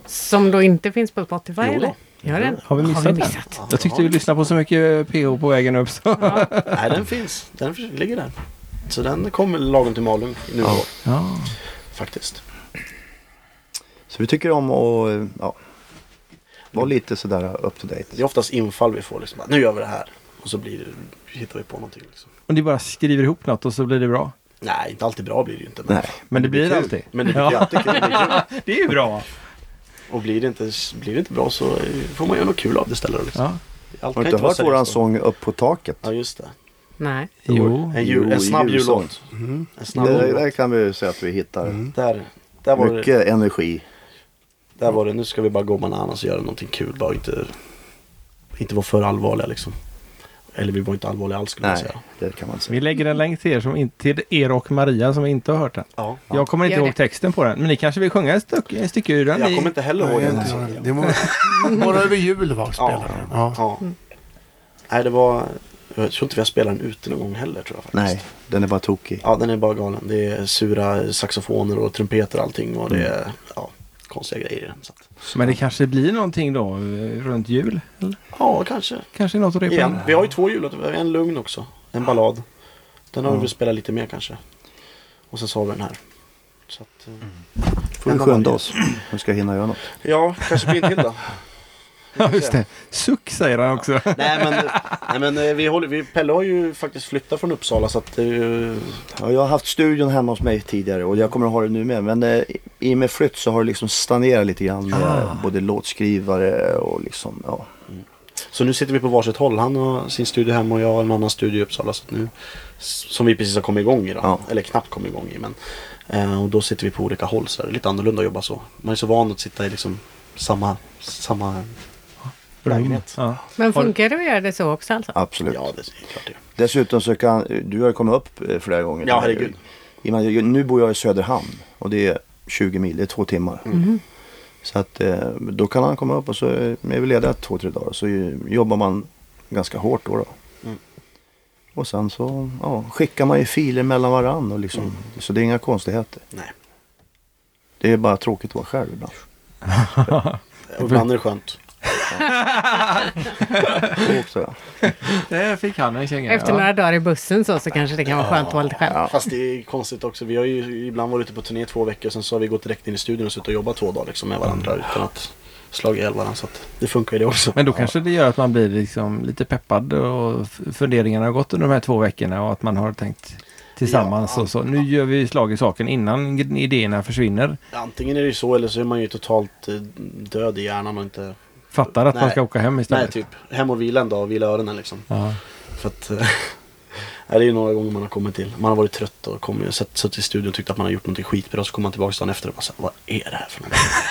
A: Som då inte finns på Spotify
C: Jo då.
A: eller? Gör den?
B: Har vi missat
A: Har vi
B: den?
A: missat?
B: Jag tyckte vi lyssnade på så mycket PH på vägen upp så. [laughs]
C: Nej, den finns. Den finns- ligger där. Så den kommer lagom till Malung nu i år,
B: Ja.
C: faktiskt.
F: Så vi tycker om att ja, vara lite sådär up to date.
C: Det är oftast infall vi får liksom. Nu gör vi det här. Och så blir det, hittar vi på någonting liksom.
B: Och ni bara skriver ihop något och så blir det bra.
C: Nej, inte alltid bra blir det ju inte. Men,
F: Nej.
B: Men det blir
F: kul.
B: alltid.
C: men det blir alltid
B: [laughs]
C: kul. Det blir kul.
B: Det är ju bra.
C: Och blir det, inte, blir det inte bra så eh, får man göra något kul av det istället. Liksom.
B: Ja.
C: Allt
F: Har
C: kan
F: du
C: inte
F: inte
C: vara
F: hört våran
C: seriöst då.
F: sång Upp på taket?
C: Ja, just det.
A: Nej.
B: Jo.
C: En, jul,
F: Jo,
C: en snabb
F: julsång.
C: jullåt. En snabb
F: Det där
C: jullåt. Mm.
F: kan vi ju säga att vi hittar.
C: Där, där, var det,
F: Mycket energi.
C: där var det, nu ska vi bara gå bananas och göra någonting kul. Bara inte, inte vara för allvarliga liksom. Eller vi var inte allvarliga alls skulle man
F: Nej,
C: säga.
F: det kan man inte
B: Vi
F: säga.
B: lägger en länk till er, som in, till er och Maria som inte har hört den.
C: Ja.
B: Jag kommer inte
A: Gör
B: ihåg
A: det.
B: texten på den, men ni kanske vill sjunga ett stycke, ett stycke ur den?
C: Jag
B: i-
C: kommer inte heller ihåg den. alltså.
E: Mm. Det var bara över jul var
C: Ja.
E: spelaren. Ja.
C: Ja. Nej, det var... Jag tror inte vi har spelat den ute någon gång heller tror jag faktiskt.
F: Nej, den är bara tokig.
C: Ja, den är bara galen. Det är sura saxofoner och trumpeter och allting. Och det är ja, konstiga grejer i den. Så att,
B: Men det kanske blir någonting då eh, runt jul? Eller?
C: ja, kanske.
B: Kanske något att repa?
C: Igen. Vi har ju två jullåtar. Vi har en lugn också. En ballad. Den har vi väl spelat lite mer kanske. Och sen så har vi den här. Så att, eh,
F: Får vi skynda oss. Nu ska jag hinna göra något.
C: Ja, kanske blir en till då.
B: Ja, just det. Suck säger han också.
C: [laughs] nej men, nej, men eh, vi håller, vi, Pelle har ju faktiskt flyttat från Uppsala så att eh,
F: Ja, jag har haft studion hemma hos mig tidigare och jag kommer att ha det nu med. Men eh, i och med flytt så har det liksom stagnerat lite grann med
C: Ah.
F: både låtskrivare och liksom, ja.
C: Så nu sitter vi på varsitt håll. Han har sin studio hemma och jag har en annan studio i Uppsala. Så att nu, som vi precis har kommit igång i då.
F: Ja.
C: Eller knappt kommit igång i men. Eh, och då sitter vi på olika håll så där. Lite annorlunda att jobba så. Man är så van att sitta i liksom samma, samma lägenhet.
B: Ja.
A: Men funkar det att göra det så också alltså?
F: Absolut.
C: Ja, det är klart det.
F: Dessutom så kan, du har ju kommit upp eh, flera gånger.
C: Ja, herregud.
F: I och med att jag- nu bor jag i Söderhamn och det är 20 mil, det är två timmar.
C: Mm. Mm-hmm.
F: Så att eh, då kan han komma upp och så är vi lediga två, tre dagar. Så ju- jobbar man ganska hårt då. då.
C: Mm.
F: Och sen så ja, skickar man ju filer mellan varandra och
C: Mm.
F: liksom, så det är inga konstigheter.
C: Nej.
F: Det är bara tråkigt att vara själv
C: [laughs]
F: ibland.
C: Och ibland är det skönt.
F: Så också, ja.
B: Där fick han en känga.
A: Efter några dagar i bussen så, så kanske det kan vara skönt att vara lite själv.
C: Fast det är konstigt också. Vi har ju ibland varit ute på turné två veckor. Sen så har vi gått direkt in i studion och suttit och jobbat två dagar liksom med varandra utan att slagit ihjäl varandra. Så att det funkar ju det också.
B: Men då kanske det gör att man blir liksom lite peppad och f- funderingarna har gått under de här två veckorna och att man har tänkt tillsammans och så. Nu gör vi slag i saken innan g- idéerna försvinner.
C: Antingen är det ju så eller så är man ju totalt eh, död i hjärnan och inte...
B: Fattar att man
C: Nej.
B: ska åka hem
C: Nej,
B: istället.
C: typ. Hem och vila en dag och vila öronen liksom.
B: Ja.
C: För att... eh, [laughs] Nej, det är ju några gånger man har kommit till. Man har varit trött och kommit, sett, suttit i studion och tyckt att man har gjort någonting skitbra. Så kommer man tillbaka dagen efter och bara så här, vad är det här för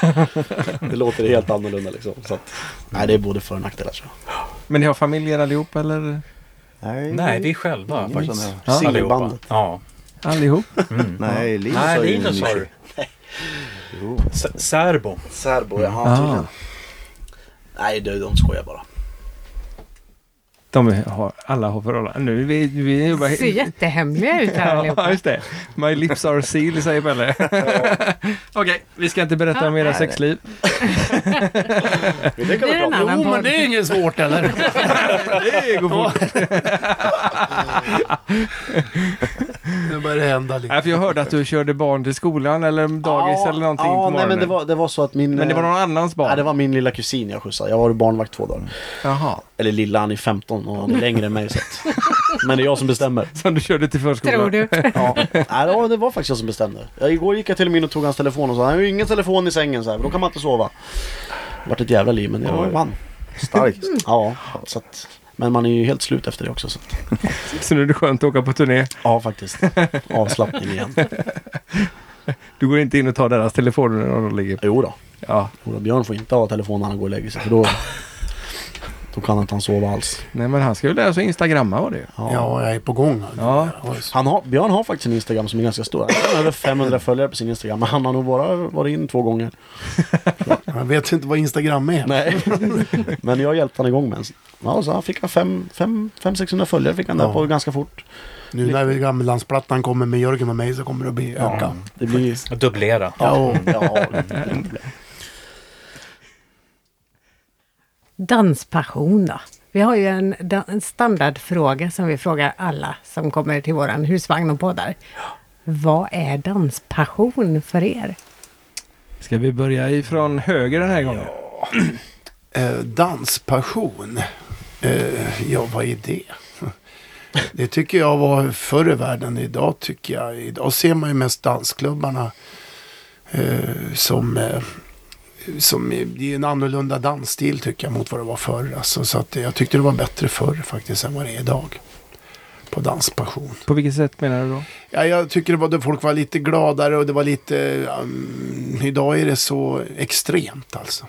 C: någonting? det låter helt annorlunda liksom. Så att, nej, det är både för och nackdelar tror jag.
B: Men ni har familjer allihop eller?
F: Nej,
D: Nej, vi är själva
F: Ingen
D: faktiskt.
F: sån här-
D: Ja, allihopa.
C: Singelbandet.
D: Ja.
B: Allihop?
F: Nej, Linus har ju
D: Nej,
F: en
D: Linus har du. [laughs]
F: Jo.
D: S- Särbo.
C: Särbo, jaha
B: Ah.
C: tydligen. Nej, du, de skojar bara.
B: De har, alla har förhållanden. Nu vi, vi [laughs] jobbar
A: Ser jättehemliga ut här
B: [laughs] Ja,
A: allihopa.
B: just det. My lips are sealed säger Pelle. [laughs] Okej, vi ska inte berätta om era sexliv.
C: Det kan
A: Det är
C: vi
A: en
C: prata om.
E: Jo,
A: annan
E: men
A: podd.
E: det är inget svårt eller?
B: Det går fort.
E: Nu börjar det hända lite.
B: Nej, för jag hörde att du körde barn till skolan eller dagis eller någonting
C: ja,
B: på morgonen.
C: Nej, men det var, det var så att min... eh,
B: Men det var någon annans barn?
C: Nej, det var min lilla kusin jag skjutsade. Jag var barnvakt två dagar.
B: Jaha.
C: Eller lilla, han är 15 och han är längre än mig så att... Men det är jag som bestämmer.
B: [laughs] Som du körde till förskolan?
A: Tror du?
C: [laughs] Ja. Nej, ja, det var faktiskt jag som bestämde. Jag, igår gick jag till och med in och tog hans telefon och sa han har ju ingen telefon i sängen så här, för då kan man inte sova. Det vart ett jävla liv, men jag
F: Oj.
C: vann.
D: [laughs]
F: Starkt. Mm.
C: Ja, så att... Men man är ju helt slut efter det också. Så. att-
B: Så nu är det skönt att åka på turné.
C: Ja, faktiskt. [laughs] Avslappning igen.
B: Du går inte in och tar deras telefoner när de ligger...
C: Jo då.
B: Ja,
C: Ola Björn får inte ha telefon när han går och lägger sig för då, då kan inte han sova alls.
B: nej men han ska ju lära sig instagramma var det ju.
E: Ja, jag är på gång. alltså.
B: Ja.
C: Han har, Björn har faktiskt en Instagram som är ganska stor. Han har över 500 följare på sin Instagram men han har nog bara varit in två gånger.
E: Jag vet inte vad Instagram är.
C: Nej. men jag hjälpte han igång med en. Ja, så han fick han 500-600 följare fick han där
E: Ja.
C: på ganska fort.
E: Nu när Gamlandsplattan kommer med Jörgen och mig så kommer det att bli öka.
C: Det blir...
D: Och Dubblera.
C: Ja, ja.
A: Danspassion då? Vi har ju en, da- en standardfråga som vi frågar alla som kommer till våran husvagn och poddar. Vad är danspassion för er?
B: Ska vi börja ifrån höger den här gången?
E: Eh, danspassion. Eh, ja, vad är det? [laughs] Det tycker jag var förr i världen. Idag tycker jag, idag ser man ju mest dansklubbarna eh, som, eh, som, är- det är en annorlunda dansstil tycker jag mot vad det var förr. Alltså, så att jag tyckte det var bättre förr faktiskt än vad det är idag. På danspassion.
B: På vilket sätt menar du då?
E: Ja, jag tycker det var då folk var lite gladare och det var lite... mm, idag är det så extremt alltså.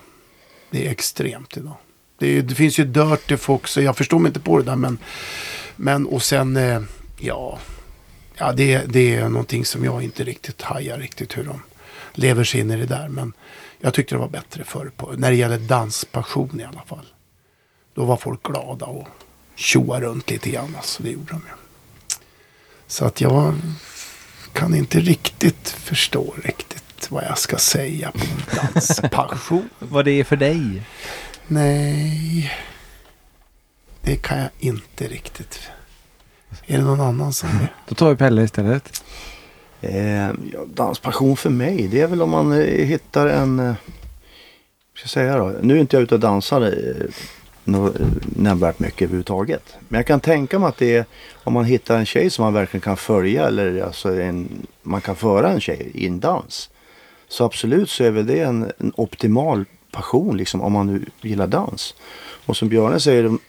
E: Det är extremt idag. Det, är, det finns ju dirty folk så jag förstår mig inte på det där men... Men och sen, eh, ja... Ja, det, det är någonting som jag inte riktigt hajar riktigt hur de lever sig in i det där. Men jag tyckte det var bättre förr på, när det gäller danspassion i alla fall. Då var folk glada och tjoade runt lite grann alltså. Det gjorde de ju. Så att jag kan inte riktigt förstå riktigt vet vad jag ska säga på
C: [laughs]
E: min danspassion.
B: Vad det är för dig?
E: Nej, det kan jag inte riktigt. Är det någon annan som är?
B: Då tar vi Pelle istället.
F: Eh, ja, danspassion för mig, det är väl om man eh, hittar en... Eh, ska jag säga då? Nu är inte jag ute och dansar eh, nå- eh, nämnvärt mycket överhuvudtaget. Men jag kan tänka mig att det är om man hittar en tjej som man verkligen kan följa eller alltså en, man kan föra en tjej i en dans. Så absolut så är väl det en, en optimal passion liksom om man nu gillar dans. Och som Björne säger, de-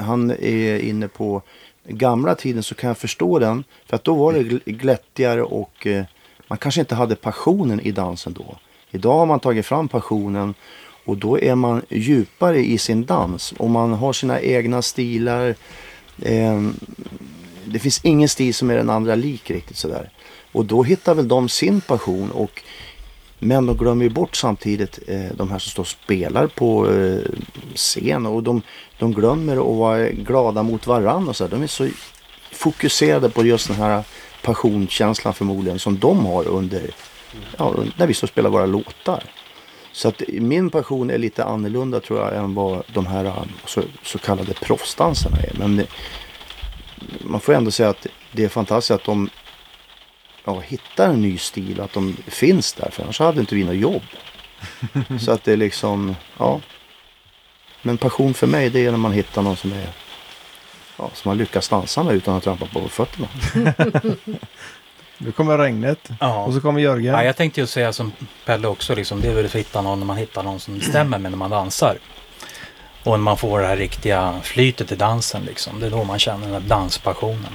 F: han är inne på gamla tiden så kan jag förstå den. För att då var det gl- glättigare och eh, man kanske inte hade passionen i dansen då. Idag har man tagit fram passionen och då är man djupare i sin dans. Och man har sina egna stilar. Eh, det finns ingen stil som är den andra lik riktigt sådär. Och då hittar väl de sin passion. Och, men de glömmer ju bort samtidigt eh, de här som står och spelar på eh, scen. Och de, de glömmer att vara glada mot varandra. Och så här. De är så fokuserade på just den här passionskänslan förmodligen som de har under ja, när vi står och spelar våra låtar. Så att min passion är lite annorlunda tror jag än vad de här eh, så, så kallade proffsdansarna är. Men eh, man får ändå säga att det är fantastiskt att de ja, hittar en ny stil, att de finns där. För annars hade inte vi något jobb. Så att det är liksom, ja. Men passion för mig det är när man hittar någon som är ja, som man lyckas dansa med utan att trampa på fötterna.
B: Nu kommer regnet.
D: Ja.
B: Och så kommer Jörgen.
D: Ja, jag tänkte ju säga som Pelle också, liksom, det är väl att hitta någon, när man hittar någon som stämmer med när man dansar. Och när man får det här riktiga flytet i dansen, liksom, det är då man känner den här danspassionen.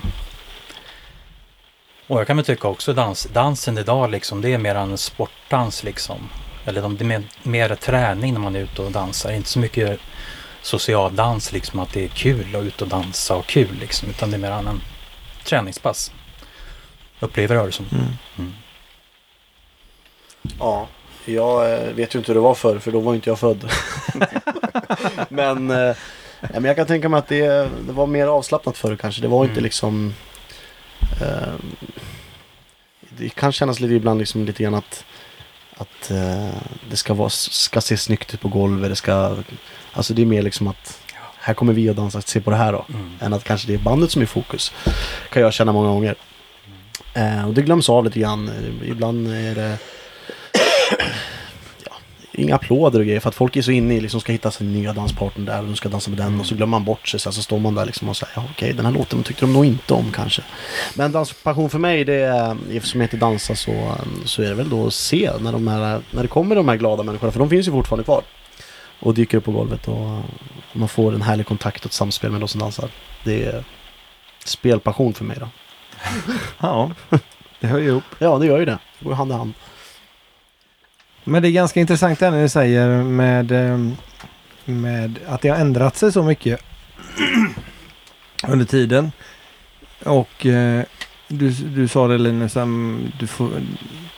D: Och jag kan väl tycka också dans, dansen idag, liksom, det är mer en sportdans. Liksom. Eller de- det är mer, mer träning när man är ute och dansar. Inte så mycket social dans, liksom, att det är kul att ut och dansa och kul. Liksom, utan det är mer en träningspass. Upplever jag det som.
C: Ja, jag eh, vet ju inte hur det var förr för då var inte jag född. men, eh, nej, men jag kan tänka mig att det, det var mer avslappnat förr kanske. Det var inte
D: Mm.
C: liksom... Eh, det kan kännas lite ibland liksom lite grann att, att eh, det ska, vara, ska se snyggt ut på golvet. Det ska, alltså det är mer liksom att här kommer vi och dansar, se på det här då.
D: Mm.
C: Än att kanske det är bandet som är i fokus. Kan jag känna många gånger. Eh, och det glöms av lite grann. Eh, Ibland är det ja, inga applåder och grejer. För att folk är så inne i liksom ska hitta sin nya danspartner där och de ska dansa med den. Och så glömmer man bort sig. Sen så står man där liksom och säger ja, okej den här låten tyckte de nog inte om kanske. Men danspassion för mig det är, eftersom jag inte dansar så, eh, så är det väl då att se när, de här, när det kommer de här glada människorna. För de finns ju fortfarande kvar. Och dyker upp på golvet och eh, man får en härlig kontakt och ett samspel med de som dansar. Det är spelpassion för mig då.
B: Ja, [laughs] det hör ju ihop.
C: Ja, det gör ju det. Det går hand i hand.
B: Men det är ganska intressant det här när du säger med, ehm, med att det har ändrat sig så mycket [clears throat] under tiden. Och eh, du, du sa det Linus, ehm, du får,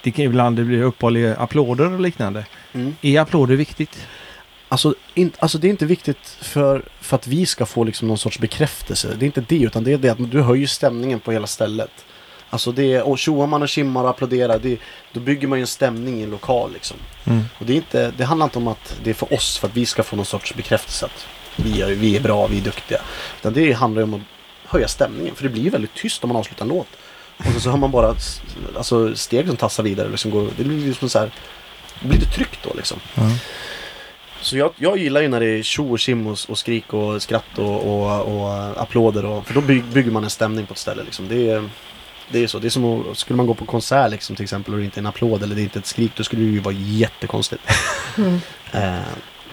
B: det kan ibland det blir uppehåll i applåder och liknande.
C: Mm.
B: Är applåder viktigt?
C: Alltså, in, alltså det är inte viktigt för, för att vi ska få liksom någon sorts bekräftelse. Det är inte det, utan det är det att du höjer stämningen på hela stället. Alltså det är, och tjoar man och tjimmar och applåderar, det, då bygger man ju en stämning i en lokal liksom. Och det, är inte, det handlar inte om att det är för oss, för att vi ska få någon sorts bekräftelse att vi är, vi är bra, vi är duktiga. Utan det handlar ju om att höja stämningen, för det blir ju väldigt tyst om man avslutar en låt. Och sen så hör man bara s- alltså, steg som tassar vidare. Liksom går, det blir liksom så här, det blir lite tryck då liksom. Så jag, jag gillar ju när det är tjo och tjim och, och skrik och skratt och, och, och applåder. Och, för då byg, bygger man en stämning på ett ställe liksom. Det är, det är så. Det är som att, skulle man gå på konsert liksom till exempel och det inte är en applåd eller det är inte ett skrik. Då skulle det ju vara jättekonstigt. [laughs] eh,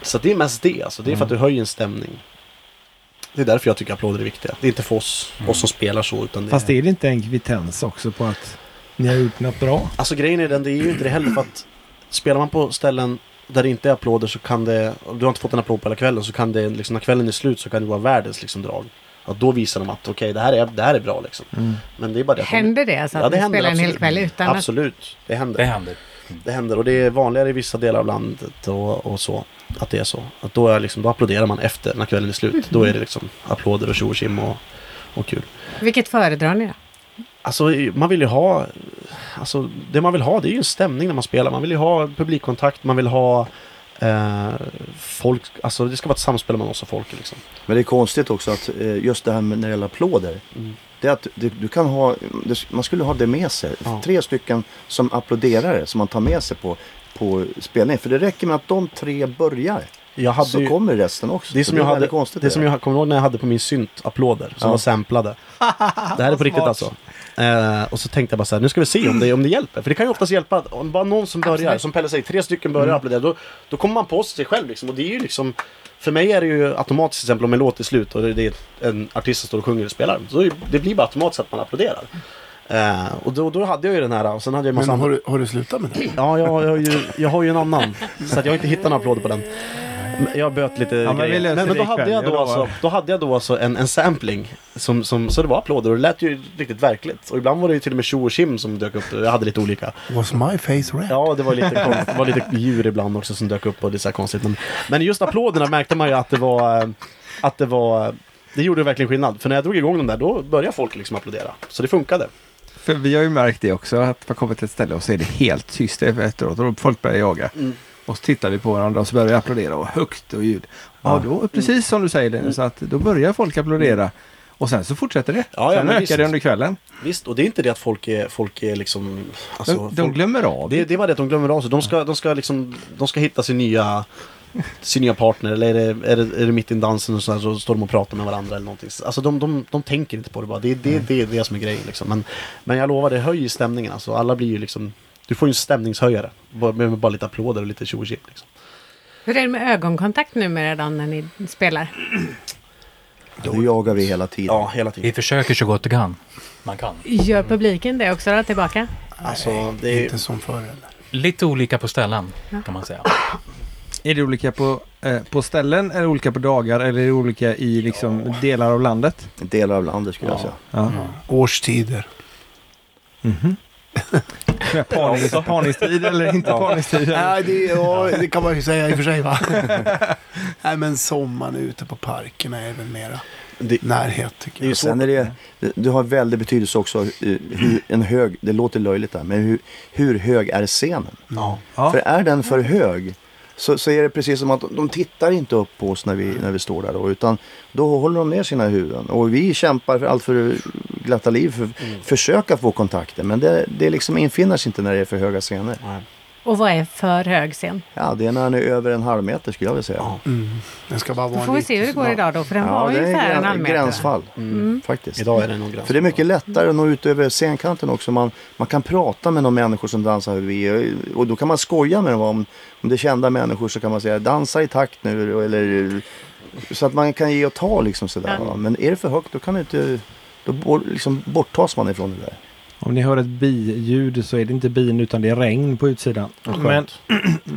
C: så det är mest det alltså. Det är för att du höjer en stämning. Det är därför jag tycker applåder är viktiga. Det är inte för oss, oss som spelar så utan det
B: Fast är det inte en kvittens också på att ni har gjort något bra?
C: Alltså grejen är den, det är ju inte det heller för att spelar man på ställen där det inte är applåder så kan det, om du har inte fått en applåd på hela kvällen så kan det, liksom när kvällen är slut så kan det vara världens liksom drag. Att då visar de att okej det, här är, det här är bra liksom. Men det är bara det att de-
A: Händer det alltså? Att ni spelar en hel
C: absolut.
A: kväll utan att...
C: Absolut, det händer.
D: Det händer.
C: Det händer och det är vanligare i vissa delar av landet och, och så. Att det är så. Att då, är liksom, då applåderar man efter när kvällen är slut. Då är det liksom applåder och tjo och tjim och, och kul.
A: Vilket föredrar ni då?
C: Alltså man vill ju ha... Alltså det man vill ha det är ju en stämning när man spelar. Man vill ju ha publikkontakt, man vill ha... Eh, folk, alltså det ska vara ett samspel mellan oss och folket liksom.
F: Men det är konstigt också att eh, just det här med när det gäller applåder.
C: Mm.
F: Det är att du, du kan ha, det- man skulle ha det med sig.
C: Ja.
F: Tre stycken som applåderare som man tar med sig på, på spelningen. För det räcker med att de tre börjar.
C: Jag hade
F: så
C: ju,
F: kommer resten
C: Alltså,
F: också.
C: det som
F: är
C: jag hade,
F: väldigt konstigt
C: det som jag kommer ihåg när jag hade på min synt applåder som
F: Ja.
C: var
F: [laughs]
C: samplade. Det här är på riktigt alltså. Eh, och så tänkte jag bara så här, nu ska vi se om det, om det hjälper. För det kan ju oftast hjälpa, om bara någon som börjar, som Pelle säger, tre stycken
F: Mm.
C: börjar applådera, då, då kommer man på sig själv liksom. Och det är ju liksom, för mig är det ju automatiskt till exempel om en låt är slut och det det är en artist som står och sjunger och spelar. Så det- det blir bara automatiskt att man applåderar. Eh, och då, då hade jag ju den här och sen hade jag ju
E: Men
C: massa
E: har du, har du slutat med det?
C: Ja, jag, jag, har ju, jag har ju en annan. Så att jag har inte hittat några applåder på den. Men Jag böt lite
B: men vi
C: grejer.
B: löser
C: men, men då,
B: det
C: hade jag
B: ikväll,
C: då,
B: jag
C: alltså,
B: lovar.
C: då hade jag då alltså en, en sampling. Som, som, så det var applåder och det lät ju riktigt verkligt. Och ibland var det ju till och med tjo och tjim som dök upp. Jag hade lite olika.
E: Was my face red?
C: Ja, det var lite, kon- det var lite djur ibland också som dök upp och det är så här konstigt. Men, men just applåderna märkte man ju att det var... eh, Att det var eh, det gjorde verkligen skillnad. För när jag drog igång dem där, då började folk liksom applådera. Så det funkade.
B: För vi har ju märkt det också, att man kommer till ett ställe och så är det helt tyst efteråt och då folk börjar jaga.
C: Mm.
B: Och så tittar vi på varandra och så börjar vi applådera och högt och ljud. Ja, då, precis som du säger, Linus,
C: Mm.
B: så att då börjar folk applådera. Och sen så fortsätter det.
C: Ja, ja,
B: sen
C: men
B: ökar
C: visst.
B: det under kvällen.
C: Visst, och det är inte det att folk är, folk är liksom...
B: De,
C: Alltså,
B: de
C: folk-
B: glömmer av.
C: Det, det var det att de glömmer av sig. De ska, de ska, liksom, de ska hitta sin nya, sin nya partner. Eller är det, är det, är det mitt i dansen och så, här, så står de och pratar med varandra eller någonting. Alltså de, de, de tänker inte på det bara. Det är det, det, är det som är grejen liksom. Men, men jag lovar, det höjer stämningen alltså. Alla blir ju liksom... Du får ju en stämningshöjare. Bara, med, med bara lite applåder och lite tjo och tjim, liksom.
A: Hur är det med ögonkontakt numera då när ni spelar?
F: Nu jagar vi hela tiden.
C: Ja, hela tiden.
D: Vi försöker så gott det kan. Man kan.
A: Gör publiken det också då, tillbaka?
C: Alltså, det
E: Nej,
C: är,
E: Inte som förr eller?
D: Lite olika på ställen kan man säga.
B: Är det olika på, eh, på ställen, är det olika på dagar eller är det olika i liksom, delar av landet?
F: Delar av landet skulle jag
C: Ja.
F: säga.
B: Ja. Mhm.
E: Årstider.
C: [laughs]
B: Med Parnings, parningstid eller inte parningstid? eller?
E: Nej, det, ja, det kan man ju säga i och för sig va? [laughs] Nej, men sommaren ute på parkerna är väl mera
C: Det-
E: närhet tycker jag.
F: Och sen är det, det- det har väldigt betydelse också eh, hur en hög, det låter löjligt där, men hur, hur hög är scenen?
E: Ja.
B: Ja.
F: För är den för hög så, så är det precis som att de tittar inte upp på oss när vi, när vi står där då, utan då håller de ner sina huvuden. Och vi kämpar för allt för glatta liv för att försöka få kontakter, men det, det liksom infinner sig inte när det är för höga scener.
A: Och vad är för hög scen?
F: Ja, det är när han är över en halv meter skulle jag vilja säga.
C: Ja.
E: Den Mm. ska bara vara
A: Då får vi
E: lite
A: se hur det går
E: sådär.
A: idag då, för den var
F: det är
A: ungefär en
F: grän-
A: halv meter.
F: gränsfall
A: mm.
F: faktiskt.
C: idag är det någon gräns.
F: För det är mycket lättare att nå ut över scenkanten också. Man, man kan prata med de människor som dansar bredvid. Och då kan man skoja med dem. Om, om det är kända människor så kan man säga dansa i takt nu. Eller, så att man kan ge och ta liksom sådär.
A: Ja.
F: va. Men är det för högt då kan du inte... Då bor- liksom borttas man ifrån det där.
B: Om ni hör ett biljud så är det inte bin utan det är regn på utsidan. Men, [clears throat]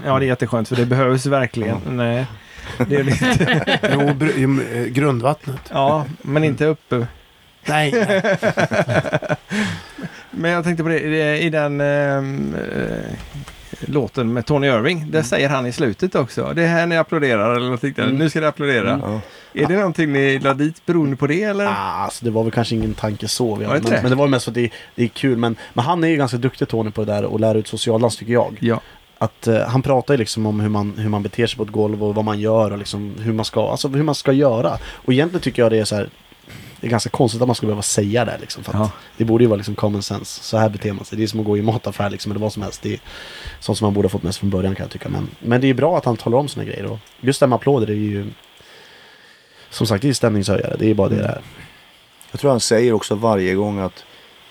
B: ja, det är jätteskönt för det behövs verkligen. Nej, det är lite, [laughs]
E: Jo, br- jo, men, eh, grundvattnet.
B: ja, men inte uppe.
E: Nej, nej.
B: [laughs] Men jag tänkte på det, eh, i den ehm, eh, låten med Tony Irving, där säger han i slutet också, det är här ni applåderar eller något liknande, nu ska ni applådera.
F: Ja.
B: Är det någonting ni la dit beroende på det eller?
C: Ah, alltså det var väl kanske ingen tanke så. Vi
B: Var det inte
C: men,
B: det?
C: men det var ju mest för att det, det är kul. Men, men han är ju ganska duktig Tony på det där och lära ut socialdans tycker jag.
B: Ja.
C: Att eh, han pratar ju liksom om hur man, hur man beter sig på ett golv och vad man gör och liksom hur man ska, alltså hur man ska göra. Och egentligen tycker jag det är så här det är ganska konstigt att man skulle behöva säga det liksom. För att
B: Ja.
C: Det borde ju vara liksom common sense. Så här beter man sig. Det är som att gå i en mataffär liksom, eller vad som helst. Det är sånt som man borde ha fått med sig från början kan jag tycka. Men, men det är ju bra att han talar om såna grejer. Och just det här med applåder det är ju... Som sagt, det är ju stämningshöjare. Det är ju bara det det är.
F: Jag tror han säger också varje gång att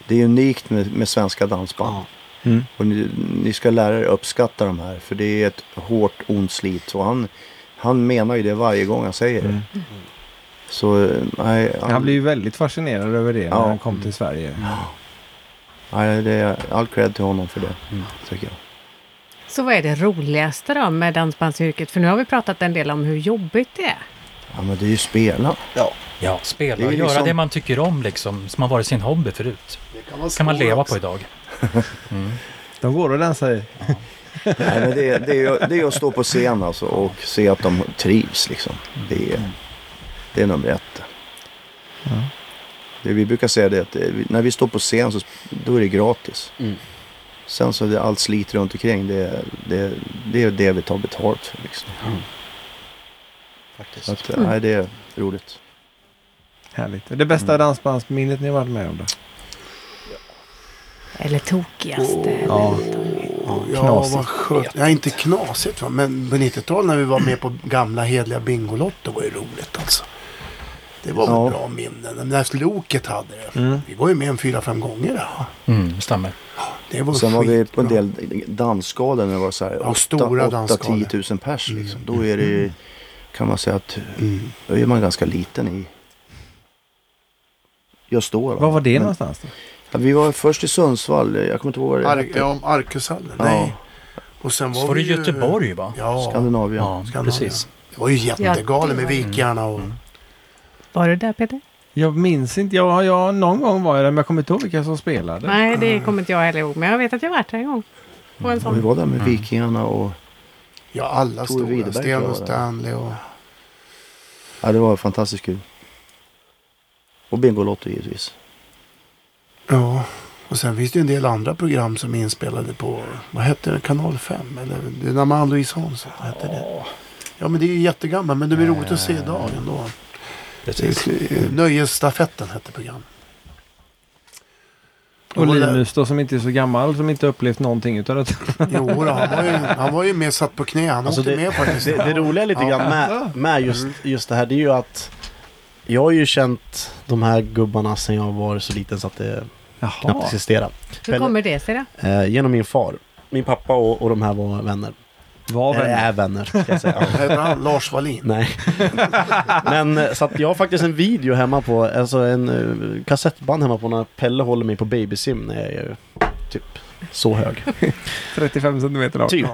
F: det är unikt med, med svenska dansband.
C: Ja.
B: Mm.
F: Och ni, ni ska lära er uppskatta de här för det är ett hårt ont slit. Och han, han menar ju det varje gång han säger det.
B: Mm.
F: Så eh, nej,
B: Han blev ju väldigt fascinerad över det när
F: Ja.
B: han kom till Sverige.
F: nej, det är all cred till honom för det. Tycker jag.
A: Så vad är det roligaste då med dansbandsyrket? För nu har vi pratat en del om hur jobbigt det är.
F: Ja men det är ju spela.
D: Ja, spela,
F: Det är ju
D: göra
F: liksom-
D: det man tycker om liksom, som har varit sin hobby förut.
E: Det kan, vara
D: kan man
E: svårt
D: leva
E: också.
D: på idag. Mm.
B: De går och dansar i.
F: [laughs] Nej, men det, är- det, är, ju- det är att stå på scen alltså och se att de trivs liksom. Det är, det är nummer ett. Det vi brukar säga det är att eh, vi- när vi står på scen så då är det gratis.
C: Mm.
F: Sen så är det allt slit runt omkring det, är- det, är- det är det vi tar betalt för. Liksom.
C: Faktiskt.
F: Så att,
C: Mm.
F: eh, nej, det är roligt.
B: Härligt. Det
C: Mm.
B: bästa dansbandsminnet ni har varit med om då?
A: Eller tokigaste. eller
B: Ja.
A: något annat.
E: Ja,
B: knasigt.
E: vad skönt. Ja, inte knasigt va? men på 90-talet när vi var med på gamla hedliga Bingolotto var ju roligt alltså. Det var väl
F: Ja.
E: bra minnen. Men när Loket hade det.
B: Mm.
E: Vi var ju med en fyra, fem gånger där.
D: Mm, stämmer.
E: Det var
F: Sen var vi på en
E: skitbra.
F: del dansgalor när det var så här
E: Ja, stora Mm. dansgalor.
F: 8-10 000 pers. Liksom. Då är det ju, kan man säga att
E: Mm.
F: då är man ganska liten i... Jag står.
B: Var var det
F: Men-
B: någonstans? Då?
F: Ja, Vi var först i Sundsvall. Jag kommer inte ihåg vad det
E: Ark,
F: hette.
E: ja, om Arkushallen.
F: Mm. Ja.
E: Nej. Och sen
D: Så
E: var
D: var det
E: vi ju-
D: Göteborg va?
E: Ja,
F: Skandinavien.
D: Ja,
E: Skandinavien.
D: precis.
E: det var ju jättegalen med
A: Ja, det var-
E: vikingarna och...
F: Mm.
A: Var du där Peter?
B: Jag minns inte. Jag, jag, någon gång var jag där men jag kommer inte ihåg vilka som spelade.
A: Nej, det kommer inte jag heller ihåg. Men jag vet att jag varit där en gång. På en
F: Och vi
A: sån.
B: Mm.
F: var där med vikingarna och...
E: Ja, alla
F: Tore
E: stora.
F: Widerberg
E: Sten
F: var
E: och
F: där.
E: Stanley och...
F: Ja, det var fantastiskt kul. Och Bingolotto givetvis.
E: Ja, och sen finns det ju en del andra program som är inspelade på, vad hette det, kanal 5? Eller det är när man Louise Hansson, vad hette det? Ja, men det är ju jättegammalt, men det blir roligt att se idag ändå. eh,
D: Precis.
E: Nöjesstafetten hette programmet.
B: Och
E: var där-
B: Linus då som inte är så gammal som inte upplevt någonting utan att...
E: Jo, då, han, var ju, han var ju med satt på knä. Han
C: Alltså,
E: åkte
C: det-
E: med faktiskt.
C: Det, det roliga lite grann med, med just, just det här, det är ju att jag har ju känt de här gubbarna sedan jag var så liten så att det
B: [laughs]
C: knappt
B: Jaha.
C: existerar.
A: Hur kommer det sig då?
C: Eh, genom min far. Min pappa och, och de här var vänner.
B: Var
C: Eh,
B: väl.
C: Är vänner, ska jag
E: [laughs]
C: säga. Ja.
E: Hette han Lars Wallin?
C: Nej. Men eh, så att jag har faktiskt en video hemma på, alltså en eh, kassettband hemma på när Pelle håller mig på babysim när jag är eh, typ så hög.
B: 35 centimeter lång.
C: Typ.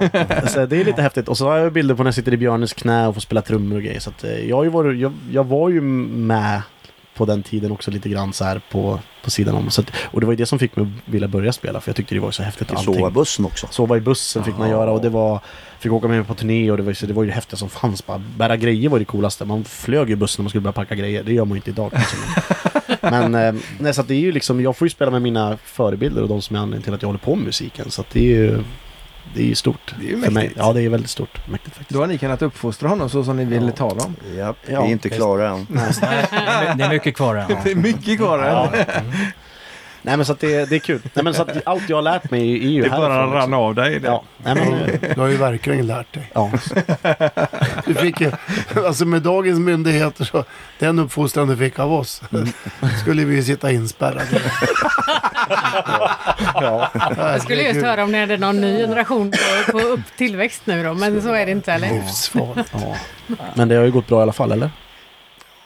C: Så det är lite häftigt. Och så har jag bilder på när jag sitter i Björnes knä och får spela trummor och grejer. Så att eh, jag, har ju varit, jag, jag var ju med på den tiden också lite grann så här på, på sidan om. Så att, och det var ju det som fick mig att vilja börja spela för jag tyckte det var så häftigt.
F: Och
C: allting.
F: sova i bussen också.
C: Sova i bussen fick man göra och det var Fick åka med på turné och det var, så det var ju det häftiga som fanns bara Bära grejer var det coolaste Man flög ju i bussen när man skulle börja packa grejer Det gör man ju inte idag kanske.
B: [laughs]
C: Men eh, nej, så att det är ju liksom Jag får ju spela med mina förebilder och de som är anledningen till att jag håller på med musiken Så att det är ju Det är ju stort
B: Det är ju
C: för mig.
B: mäktigt.
C: Ja det är väldigt stort Mäktigt faktiskt
B: Då har ni kunnat uppfostra honom så som ni ville ta dem.
F: Japp, vi
C: Ja,
F: är inte
D: visst.
F: klara än.
B: [laughs]
D: Det är mycket kvar än.
B: Det är mycket kvar än.
C: Nej men så att det, det är kul Nej men så att allt jag har lärt mig är ju
B: Det bara Mm.
C: härifrån,
B: rann
C: liksom.
B: av dig. det.
C: Ja, nej men
E: Du har ju verkligen lärt dig.
C: Ja,
E: Du fick ju, alltså med dagens myndigheter så, den uppfostran du fick av oss,
C: Mm.
E: skulle vi ju sitta inspärrade.
C: ja.
A: Jag skulle just höra om ni hade någon ny generation på- på upp tillväxt nu då. Men så är det inte
B: Mm.
A: eller?
E: Livsfarligt.
C: ja. Men det har ju gått bra i alla fall eller?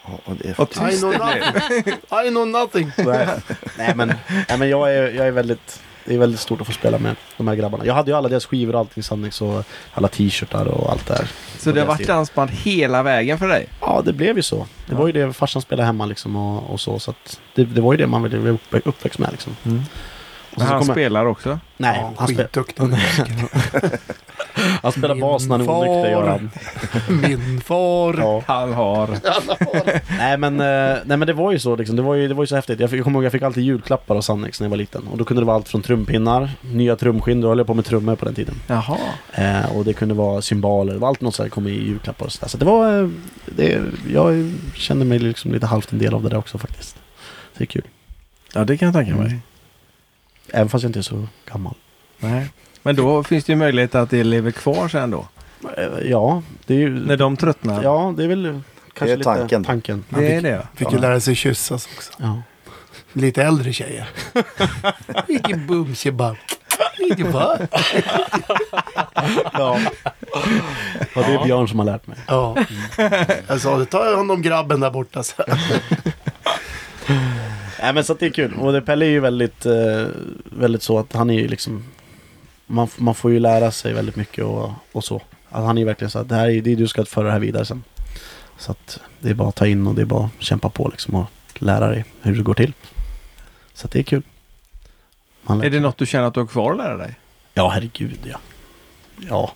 F: Ja, och det är
B: Och
E: I
B: tyst
E: know
B: det
E: nothing. I know nothing.
C: Nej, [laughs] nej men, nej, men jag, är, jag är väldigt... Det är väldigt stort att få spela med de här grabbarna. Jag hade ju alla deras skivor och allting Sannix och alla t-shirtar och allt det där.
B: Så det har varit dansband hela vägen för dig?
C: Ja, det blev ju så. Det var ju det farsan spelade hemma liksom och, och så. Så att det, det var ju det man ville bli upp, uppväxt med liksom.
B: Mm.
C: Och
B: Men
C: så
B: han
C: kommer-
B: spelar också?
C: Nej,
E: Ja,
C: han, spel,
E: Skitduktig.
C: han spelar bas när han är
E: Min
C: onykter gör
E: far.
C: han.
E: Min far.
C: Ja.
B: Han har.
C: nej, men, eh, nej men det var ju så liksom. Det var ju, det var ju så häftigt. Jag, fick, jag kommer ihåg jag fick alltid julklappar av Sannex när jag var liten. Och då kunde det vara allt från trumpinnar, nya trumskinn. Då höll jag på med trummor på den tiden.
B: Jaha.
C: Eh, och det kunde vara symboler, det var allt något sådär kom i julklappar och sådär. Så det var, eh, det, jag kände mig liksom lite halvt en del av det där också faktiskt. Så det är kul.
B: Ja, det kan jag tänka mig.
C: Även fast jag inte är så gammal.
B: Nej. Men då finns det ju möjlighet att det lever kvar sen då?
C: Eh, ja, det är ju,
B: När de tröttnar?
C: ja, det är väl kanske
F: är tanken.
C: lite tanken.
B: Det är det. va?
E: Fick ju lära sig kyssas också.
C: Ja.
E: Lite äldre tjejer. Vilken bumsjebab. Vilken vad?
C: [laughs] ja. ja, det är Björn som har lärt mig.
E: Ja. Jag sa det, ta hand om grabben där borta. Så.
C: Nej men så att det är kul. Och det, Pelle är ju väldigt, eh, väldigt så att han är ju liksom man, f- man får ju lära sig väldigt mycket och, och så. Att han är ju verkligen så att det här är, det är du ska föra det här vidare sen. Så att det är bara att ta in och det är bara att kämpa på liksom och lära dig hur det går till. Så att det är kul. Man lär-
B: Är det något du känner att du har kvar att lära dig?
C: Ja herregud ja. Ja.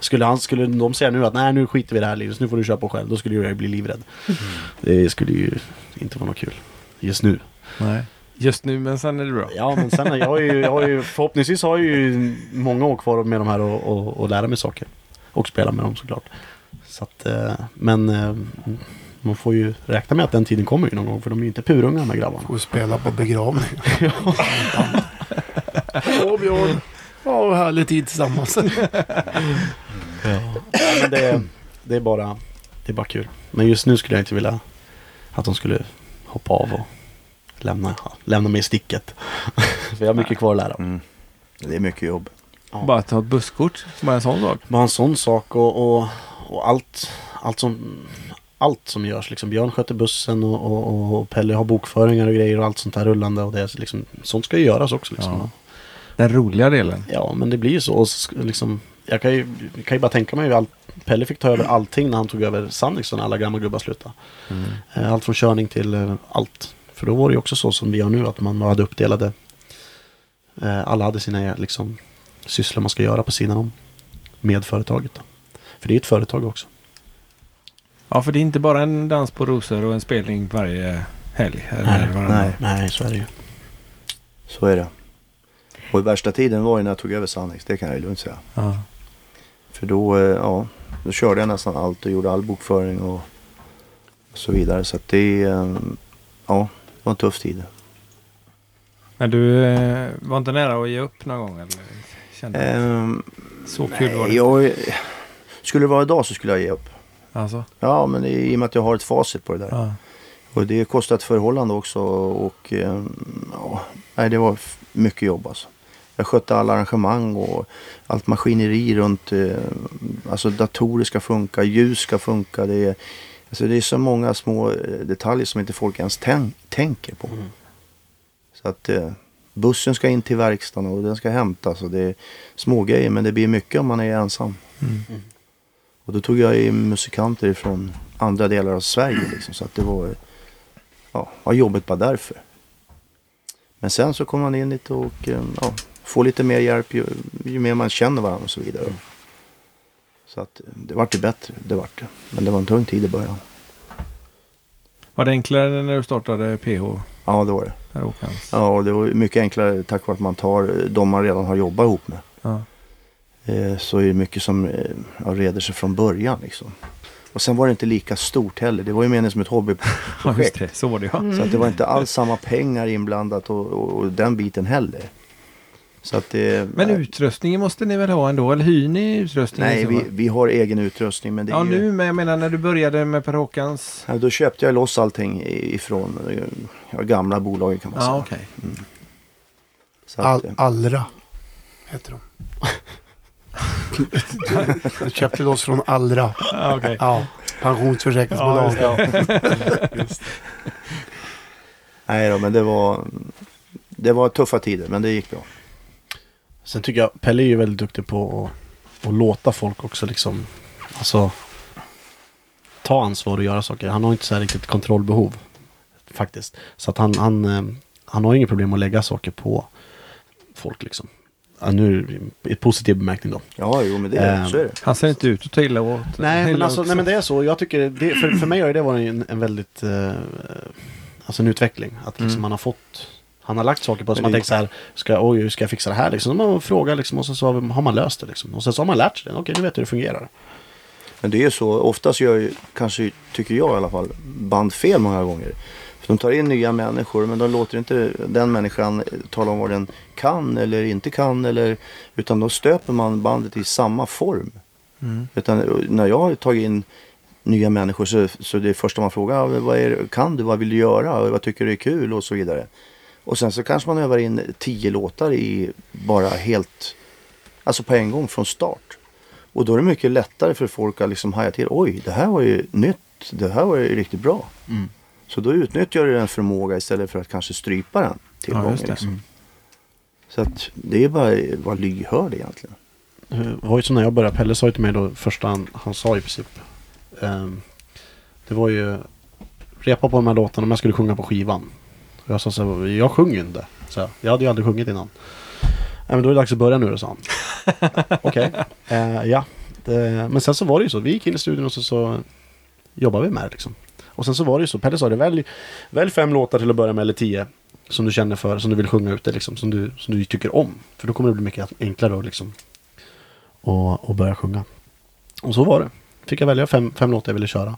C: Skulle, han, skulle de säga nu att nej nu
B: Mm.
C: skiter vi i det här Linus, nu får du köra på själv. Då skulle jag ju bli livrädd. Det skulle ju inte vara något kul. just nu.
B: Nej. Just nu, men sen är det bra.
C: Ja, men sen jag har ju, jag har ju förhoppningsvis har jag ju många år kvar med de här och, och, och lära mig saker. Och spela med dem såklart. Så att, eh, men eh, man får ju räkna med att den tiden kommer ju någon gång för de är ju inte purunga de här grabbarna.
E: Får spela på begravning. Åh Björn. Ja, vad härlig tid tillsammans.
C: Ja, men det, det, är bara, det är bara kul. Men just nu skulle jag inte vilja att de skulle hoppa av och lämna, lämna mig i sticket. [laughs] för jag har mycket kvar att lära.
F: Mm. Det är mycket jobb.
B: Bara att ta ett busskort, bara en sån sak.
C: Bara en sån sak och, och, och allt, allt, som, allt som görs. Liksom Björn sköter bussen och, och, och Pelle har bokföringar och grejer och allt sånt där rullande. Och det, är liksom, sånt ska ju göras också. Liksom.
B: Ja. Den roliga delen.
C: Ja, men det blir ju så. Och så sk- liksom, jag kan ju, jag kan ju bara tänka mig hur all, Pelle fick ta över allting när han tog över Sandviksson när alla gamla gubbar slutade.
B: Mm.
C: Eh, Allt från körning till eh, allt. För då var det ju också så som vi gör nu, att man hade uppdelade. eh, Alla hade sina liksom, sysslor man ska göra på sidan om med företaget. Då. För det är ju ett företag också.
B: Ja, för det är inte bara en dans på rosor och en spelning varje helg. Eller varannan.
F: nej.
C: Nej, så är det ju.
F: Så är det. Och i värsta tiden var ju när jag tog över Sannex, det kan jag ju lugnt säga.
B: Ja.
F: För då, eh, ja, då körde jag nästan allt och gjorde all bokföring och och så vidare. Så att det, eh, ja, det var en tuff tid.
B: Men du eh, var inte nära att ge upp någon gång? Eller? Kände du att
F: Ehm,
B: så kul var det
F: nej, jag, skulle det vara idag så skulle jag ge upp.
B: Alltså,
F: Ja, men i, i och med att jag har ett facit på det där.
B: ja.
F: Och det kostar ett förhållande också och eh, ja, nej, det var f- mycket jobb alltså. Jag skötte alla arrangemang och allt maskineri runt, eh, alltså datorer ska funka, ljus ska funka. Det är, alltså det är så många små eh, detaljer som inte folk ens tän- tänker på. Så att eh, bussen ska in till verkstaden och den ska hämtas och det är små grejer men det blir mycket om man är ensam. Och då tog jag in musikanter från andra delar av Sverige liksom, så att det var ja, var jobbet bara därför. Men sen så kommer man in lite och eh, ja, får lite mer hjälp ju, ju mer man känner varandra och så vidare. Så att eh, det vart ju bättre, det vart det. Men det var en tung tid i början.
B: Var det enklare när du startade PH?
F: Ja, det var det.
B: Där Åkans?
F: Ja, och det var ju mycket enklare tack vare att man tar eh, de man redan har jobbat ihop med.
B: Ja.
F: Eh, så är det mycket som eh, ja, reder sig från början liksom. Och sen var det inte lika stort heller. Det var ju meningen som ett
B: ja, just
F: hobbyprojekt.
B: det. Så var det ja.
F: Så att det var inte alls samma pengar inblandat och, och, och den biten heller. Så att eh, det,
B: Men
F: nej.
B: utrustningen måste ni väl ha ändå? Eller hyr ni utrustningen?
F: Nej,
B: Så
F: vi,
B: va?
F: vi har egen utrustning. Men det är
B: Ja,
F: ju,
B: nu, men jag menar när du började med Per Håkans.
F: Ja, Då köpte jag loss allting i- ifrån eh, ja, gamla bolaget kan man säga.
B: Ja, okej.
F: Så att,
E: Al
F: eh,
E: Allra
C: [laughs]
E: heter de. Du köpte loss från Allra.
B: Ja, okej.
E: Ja, pensionsförsäkringsbolag.
F: nej då, men det var, det var tuffa tider, men det gick bra.
C: Sen tycker jag Pelle är ju väldigt duktig på att, att låta folk också liksom, alltså ta ansvar och göra saker. Han har inte så här riktigt kontrollbehov faktiskt. Så att han, han, eh, han har inget problem att lägga saker på folk liksom. Ja, nu i positiv bemärkning då.
F: Ja, jo, men det
C: Ehm,
F: så är det.
B: Han ser inte ut att ta illa åt.
C: Nej men,
B: Illa
C: alltså,
B: åt
C: nej men
B: sig.
C: det är så. Jag tycker, det, för, för mig har ju det varit en, en väldigt, eh, alltså en utveckling. Att liksom
B: Mm.
C: han har fått, han har lagt saker på sig.
F: Men
C: Man
F: det-
C: tänker så här, ska, oj hur ska jag fixa det här liksom? Man frågar liksom och sen så har har man löst det liksom. Och sen så har man lärt sig det. Okej nu vet jag hur det fungerar.
F: Men det är ju så, oftast gör ju, kanske tycker jag i alla fall, band fel många gånger. För de tar in nya människor men de låter inte den människan eh, tala om vad den kan eller inte kan. Eller, utan då stöper man bandet i samma form. Utan, eh, när jag har tagit in nya människor så, så det är första man frågar, "Ah, vad är, det- kan du, vad vill du göra, vad tycker du är kul och så vidare. Och sen så kanske man övar in tio låtar i bara helt, alltså på en gång från start. Och då är det mycket lättare för folk att liksom haja till. Oj, det här var ju nytt. Det här var ju riktigt bra.
B: Mm.
F: Så då utnyttjar du den förmåga istället för att kanske strypa den tillgången.
B: Ja, just det.
F: liksom. Så att det är bara att vara lyhörd egentligen.
C: Det var ju som när jag började. Pelle sa ju till mig då första han, han sa i princip. ehm, det var ju repa på de här låtarna om jag skulle sjunga på skivan. Och jag sa så här, jag sjunger ju inte. Så jag, jag hade ju aldrig sjungit innan. Nej men då är det dags att börja nu då sa han. Okej, eh, ja. Det, men sen så var det ju så. Vi gick in i studion och så, så jobbade vi med det liksom. Och sen så var det ju så, Pelle sa det, välj, välj fem låtar till att börja med, eller tio. Som du känner för, som du vill sjunga ut det, liksom, som, du, som du tycker om. För då kommer det bli mycket enklare att liksom, och, och börja sjunga. Och så var det. Fick jag välja fem, fem låtar jag ville köra.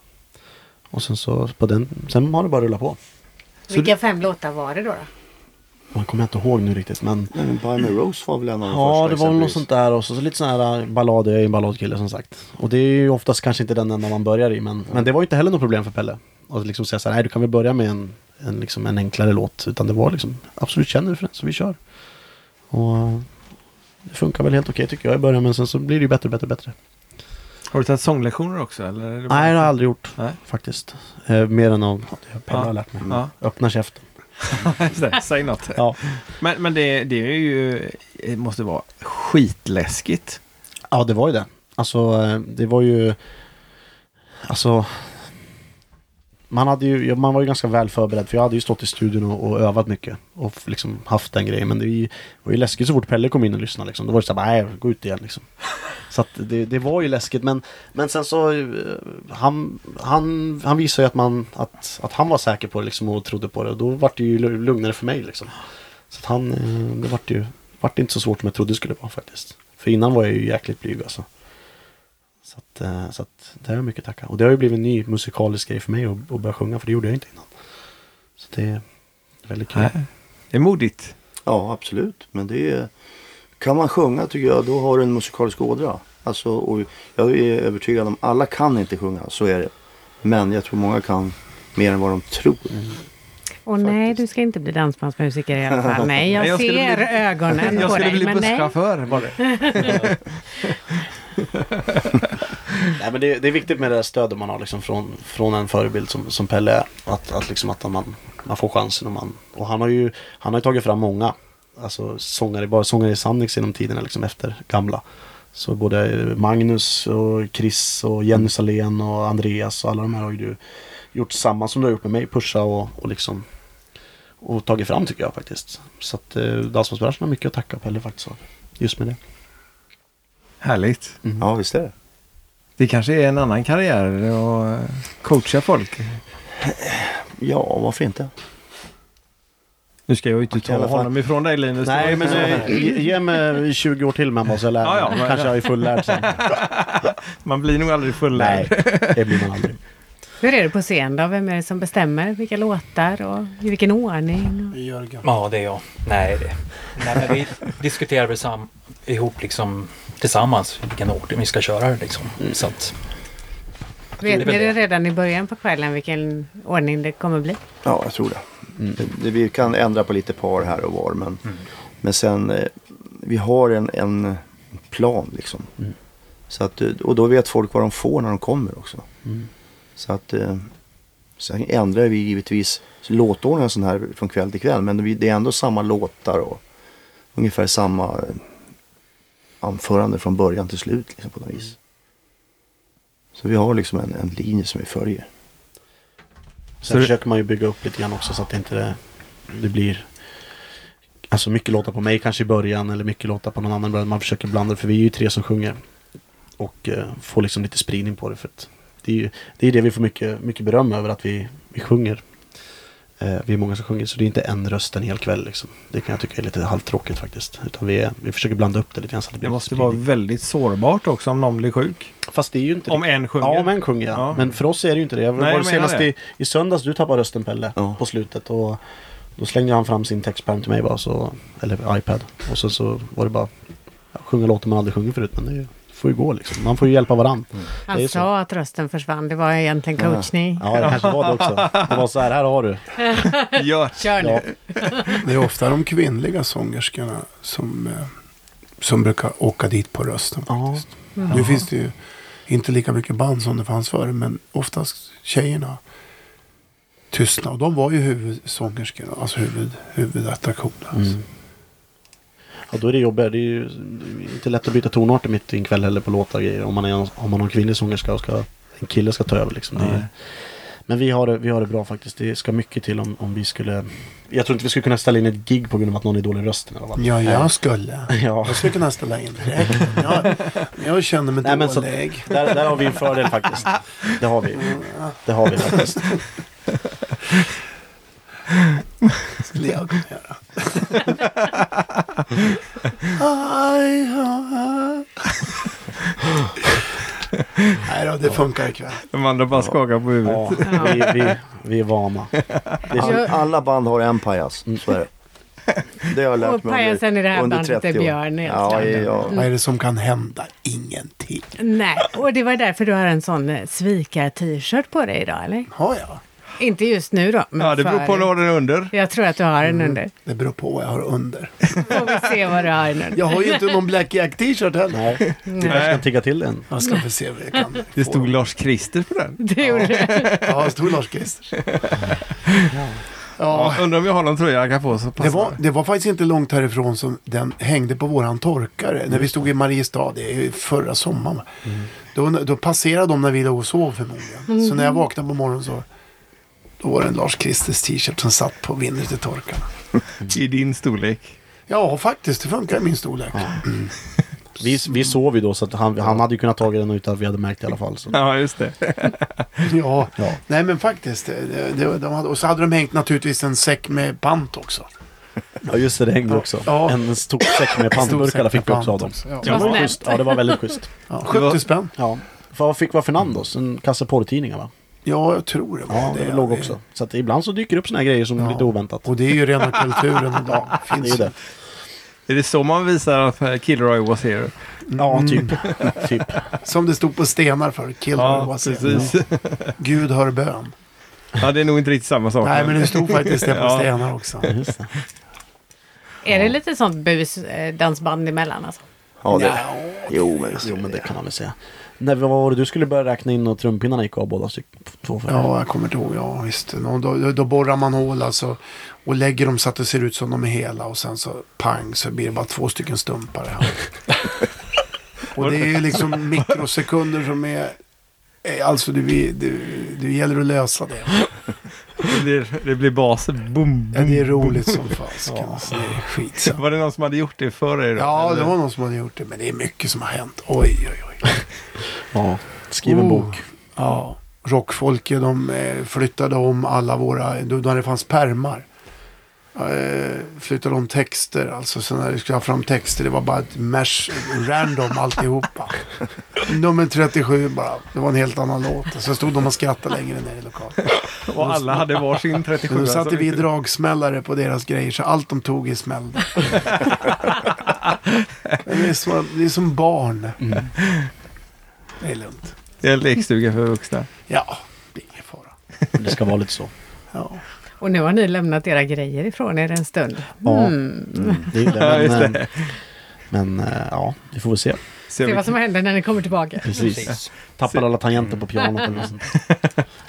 C: Och sen så, på den, sen har det bara rullat på.
A: Vilka fem låtar var det då? då?
C: Man kommer inte ihåg nu riktigt men
F: Nej, men By My Rose var väl en av de
C: Ja,
F: första
C: det var väl något
F: exempelvis.
C: sånt där och så, så lite sådana här ballader. Jag är ju en balladkille som sagt. Och det är ju oftast kanske inte den enda man börjar i. Men, men det var ju inte heller något problem för Pelle. Att liksom säga så här, nej du kan väl börja med en, en, liksom, en enklare låt. Utan det var liksom, absolut känner du för den så vi kör. Och eh, det funkar väl helt okej tycker jag i början. Men sen så blir det ju bättre, bättre, bättre.
B: Har du tagit sånglektioner också? Eller är det bara-
C: Nej, det har jag aldrig gjort
B: Nej.
C: faktiskt. Eh, mer än av det Pelle
B: Ja.
C: har lärt mig.
B: Ja.
C: Öppna käften.
B: [laughs] Just det, Säg något.
C: Ja.
B: Men, men det, det är ju, det måste vara skitläskigt.
C: Ja, det var ju det. Alltså, eh, det var ju... Alltså... Man, hade ju, ja, man var ju ganska väl förberedd för jag hade ju stått i studion och, och övat mycket. Och f- liksom haft den grejen. Men det var ju, var ju läskigt så fort Pelle kom in och lyssnade. Liksom. Då var det så här, nej, gå ut igen liksom. Så att det, det var ju läskigt. Men, men sen så... eh, Han, han, han visade ju att, man, att, att han var säker på det liksom, och trodde på det. Och då var det ju lu- lugnare för mig liksom. Så att han, eh, det vart ju vart inte så svårt som jag trodde det skulle vara faktiskt. För innan var jag ju jäkligt blyg alltså. Så att, eh, så att det har jag mycket att tacka. Och det har ju blivit en ny musikalisk grej för mig att, att börja sjunga, för det gjorde jag inte innan. Så det är väldigt kul.
B: Det är modigt.
F: Ja, absolut. Men det är, kan man sjunga tycker jag, då har du en musikalisk ådra. Alltså, och jag är övertygad om, alla kan inte sjunga, så är det. Men jag tror många kan mer än vad de tror.
A: Och nej, du ska inte bli dansbandsmusiker i alla fall.
B: [laughs]
A: Nej, jag,
B: Nej, jag
A: ser
B: skulle bli-
A: ögonen
B: [laughs] Jag
A: på
B: skulle
A: dig.
B: bli
A: men nej.
B: busschaufför var det.
C: Nej, men det, det är viktigt med det där stödet man har liksom från, från en förebild som, som Pelle är. Att, att, liksom att man, man får chansen. Och, man, och han har ju han har ju tagit fram många alltså, sångare, bara sångare i Sannix genom tiderna liksom, efter gamla. Så både Magnus och Chris och Jenny Salén och Andreas och alla de här har ju du gjort samma som du har gjort med mig. Pusha och, och liksom och tagit fram tycker jag faktiskt. Så att eh, dansbandsbranschen har mycket att tacka Pelle faktiskt av. Just med det.
B: Härligt.
C: Mm.
F: Ja, visst är det.
B: Det kanske är en annan karriär att coacha folk.
F: Ja, varför inte?
B: Nu ska jag ju inte
F: i
B: ta
F: alla fall.
B: honom ifrån dig Linus.
C: Nej, men eh,
B: [laughs]
C: ge, ge mig 20 år till med mig så jag lär mig.
B: Ja, ja, men-
C: Kanske jag är
B: [laughs]
C: fullärd sen.
B: Man blir nog aldrig fullärd.
C: det blir man aldrig.
A: Hur är det på scen då? Vem är det som bestämmer vilka låtar och i vilken ordning? Och...
E: Jörgen.
D: Ja, det är jag. Nej, det. Nej men vi diskuterar väl sam, ihop liksom tillsammans vilken ort vi ska köra liksom. Så att,
A: Vet
D: väl
A: ni det
D: det.
A: redan i början på kvällen vilken ordning det kommer bli?
F: Ja, jag tror det. det, det vi kan ändra på lite par här och var. Men, men sen, eh, vi har en, en plan liksom. Så att, eh, och då vet folk vad de får när de kommer också. Så att, eh, sen ändrar vi givetvis låtordningen sån här från kväll till kväll. Men vi- det är ändå samma låtar och ungefär samma eh, anförande från början till slut liksom, på något vis. Så vi har liksom en, en linje som vi följer.
C: Sen försöker man ju bygga upp lite grann också så att det inte det, det blir Alltså mycket låtar på mig kanske i början eller mycket låtar på någon annan i början. Man försöker blanda det för vi är ju tre som sjunger. Och eh, få liksom lite spridning på det för att det är ju det, är det vi får mycket, mycket beröm över att vi, vi sjunger. Eh, vi är många som sjunger så det är inte en röst en hel kväll liksom. Det kan jag tycka är lite halvtråkigt faktiskt. Utan vi, är, vi försöker blanda upp det lite grann så att det blir
B: Det
C: lite
B: måste vara
C: spridning.
B: väldigt sårbart också om någon blir sjuk.
C: Fast det är ju inte
B: Om en sjunger.
C: Ja, om en sjunger ja.
B: Ja.
C: Men för oss är det ju inte det. Jag
B: Nej,
C: var
B: jag
C: det
B: menar
C: senast
B: det.
C: i, i söndags du tappade rösten Pelle
F: Ja.
C: på slutet. Och då slängde han fram sin textpärm till mig bara så, eller iPad. Och sen så var det bara ja, sjunga låtar man aldrig sjungit förut. Men det är ju- det får ju gå liksom. Man får ju hjälpa varandra.
A: Han
C: Det är
A: sa
C: så.
A: att rösten försvann. Det var egentligen coachning.
C: Ja, det kanske var det också. Det var så här, här har du.
B: Gör.
A: Kör nu.
C: Ja.
E: Det är ofta de kvinnliga sångerskorna som, eh, som brukar åka dit på rösten.
C: Ja.
E: Faktiskt. Nu finns det ju inte lika mycket band som det fanns förr. Men oftast tjejerna tystna. Och de var ju huvudsångerskorna. Alltså huvud, huvudattraktionen. Alltså.
C: Mm. Ja, då är det jobbigare. Det är ju inte lätt att byta tonarter mitt i en kväll heller på låtar och grejer. Om man, är, om man har en kvinnlig sångerska och ska, en kille ska ta över liksom. Det är, Men vi har, det, vi har det bra faktiskt. Det ska mycket till om, om vi skulle... Jag tror inte vi skulle kunna ställa in ett gig på grund av att någon är dålig i rösten. Eller vad?
E: Ja, jag skulle.
C: Ja.
E: Jag skulle kunna ställa in direkt. Jag, jag känner mig
C: Nej, men så,
E: dålig.
C: där, där har vi en fördel faktiskt. Det har vi. Det har vi faktiskt.
E: skulle jag kunna göra. Aj, aj. Nej då, det funkar ikväll.
B: De andra bara skakar på huvudet.
C: Ja, vi, vi, vi är vana. Mm.
F: All, alla band har en pajas. Så är det. Det har jag lärt
A: Och
F: mig under,
A: pajasen i det här
F: under
A: bandet
F: 30
A: är
F: år.
A: Björn, helt
F: ja,
A: klart.
F: ja.
E: Vad är det som kan hända? Ingenting.
A: Nej, och det var därför du har en sån eh, svikar-t-shirt på dig idag, eller?
E: Har jag?
A: Inte just nu då, men
B: Ja, det beror på
A: före.
B: om du har den under.
A: Jag tror att du har en under.
E: Det beror på vad jag har under.
A: Får vi se vad du har en under. Mm.
E: Jag har ju inte någon Black Jack t-shirt heller.
C: Nej, du kanske kan tigga till den.
E: Jag ska vi se vad jag kan
B: Det
E: få.
B: stod Lars Christer på den.
A: Det gjorde du.
E: Ja, stor Lars Christer. Ja.
B: Ja, undrar om jag har någon tröja jag kan få så
E: Det
B: passar
E: var, det var faktiskt inte långt härifrån som den hängde på våran torkare. När vi stod i Mariestad, det är ju förra sommaren.
C: Mm.
E: Då, då passerade de när vi låg och sov förmodligen. Så
C: Mm.
E: när jag vaknade på morgonen så då var det en Lars Christers t-shirt som satt på vindrutetorkarna.
B: i din storlek.
E: Ja, faktiskt. Det funkar i min storlek. Mm.
C: Vi, vi sov ju då så att han, han hade ju kunnat ta den utan att vi hade märkt det i alla fall. Så.
B: Ja, just det.
E: Ja.
C: Ja.
E: nej men faktiskt. Det, det, det, de hade, och så hade de hängt naturligtvis en säck med pant också.
C: Ja just det, det hängde också.
E: Ja.
C: En stor säck med pantburkar fick vi också av dem.
E: Ja.
C: Ja, det var
A: Vad
C: schysst. Ja, det var väldigt schysst.
E: Ja, 70 spänn.
C: [laughs] Ja. För vad fick vad Fernandos? En kasse porrtidningar va?
E: Ja, jag tror det var
C: Ja, det, låg också. Så att ibland så dyker det upp såna här grejer som är
E: Ja.
C: lite oväntat.
E: Och det är ju rena
C: [laughs]
E: kulturen idag.
C: Det är
E: Finns [laughs]
C: ju det.
B: Är det så man visar att eh, Kilroy was here?
C: Ja, typ. [laughs] typ.
E: Mm. [laughs] Som det stod på stenar för killar
B: Ja,
E: ja,
B: precis.
E: Gud hör bön.
B: Ja, det är nog inte riktigt samma sak.
E: Nej, men det stod faktiskt det
B: [laughs]
E: på
B: Ja.
E: stenar också.
C: Just det.
A: Är det lite sånt busdansband emellan alltså?
F: Ja, det. Jo, men,
C: Jo, men det kan man väl säga. Nej, vad var det du skulle börja räkna in och trumpinnarna gick av båda stycken? Två för
E: Ja, jag kommer inte ihåg. Ja, visst. Nå- Då, då borrar man hål alltså. Och lägger dem så att det ser ut som de är hela. Och sen så pang så blir det bara två stycken stumpar. här.
B: [laughs]
E: och det är ju liksom mikrosekunder som är... eh, Alltså det, vi- det, det gäller att lösa det.
B: Det blir, det blir bas. Boom,
E: Ja,
B: boom.
E: det är roligt
B: [laughs]
E: som fasiken. Alltså, det är skitsamma.
B: Var det någon som hade gjort det för dig då?
E: Ja, det
B: Eller?
E: var någon som hade gjort det. Men det är mycket som har hänt. Oj, oj, oj.
C: Ja. Skriv
B: Oh.
E: Oh.
C: en bok.
E: Ja. Rockfolket de eh, flyttade om alla våra, då då det fanns pärmar. Eh, flyttade om texter, alltså så när vi skulle ha fram texter det var bara ett mash, random alltihopa. Nummer 37 bara, det var en helt annan låt. Så stod de och skrattade längre ner i lokalen.
B: Och alla hade varsin 37.
E: Men då satte
B: alltså.
E: vi dragsmällare på deras grejer så allt de tog i smällde. Men det, är som, det är som barn.
C: Mm.
E: Det är lugnt.
B: Det är en lekstuga för vuxna.
E: Ja, det är ingen fara.
C: Det ska vara lite så.
E: Ja.
A: Och nu har ni lämnat era grejer ifrån er en stund.
C: Ja.
A: Mm.
C: Mm, det är
B: [laughs] Ja,
C: det.
B: just
C: Men, eh, men eh, ja, vi får väl se.
B: Se
A: Se
B: vilken-
A: vad som händer när ni kommer tillbaka.
C: Precis. Tappar alla tangenter på pianot eller något sånt.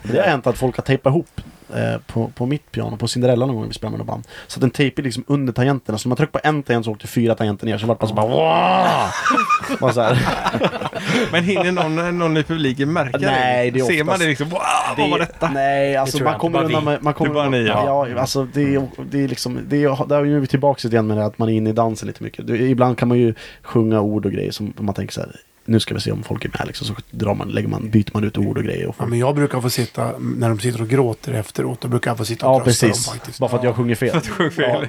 C: Det har hänt att folk har tejpat ihop eh, på, på mitt piano, på Cinderella någon gång när vi spelade med något band. Så att den tejp är liksom under tangenterna. Så när man tryckte på en tangent så åkte fyra tangenter ner. Så vart man så bara wow! Man så här,
B: Men hinner någon, någon i publiken märka
C: Nej, det är
B: Ser man
C: oftast-
B: det liksom? Wow, vad var detta?
C: Nej, alltså
D: tror jag
C: man
D: inte,
C: kommer
D: bara
C: undan
D: vi.
C: med... Man kommer
B: Det är bara
C: undan-
B: ni, ja.
C: ja. alltså det är, det är liksom... Det är, där är vi tillbaka lite igen med det här att man är inne i dansen lite mycket. Du, ibland kan man ju sjunga ord och grejer som man tänker så här. Nu ska vi se om folk är med liksom. Så drar man, lägger man, byter man ut ord och grejer. Och
E: Ja, men jag brukar få sitta, när de sitter och gråter efteråt, då brukar jag få sitta och
C: Ja,
E: trösta
C: precis.
E: dem faktiskt.
C: Bara för att jag sjunger fel. Ja.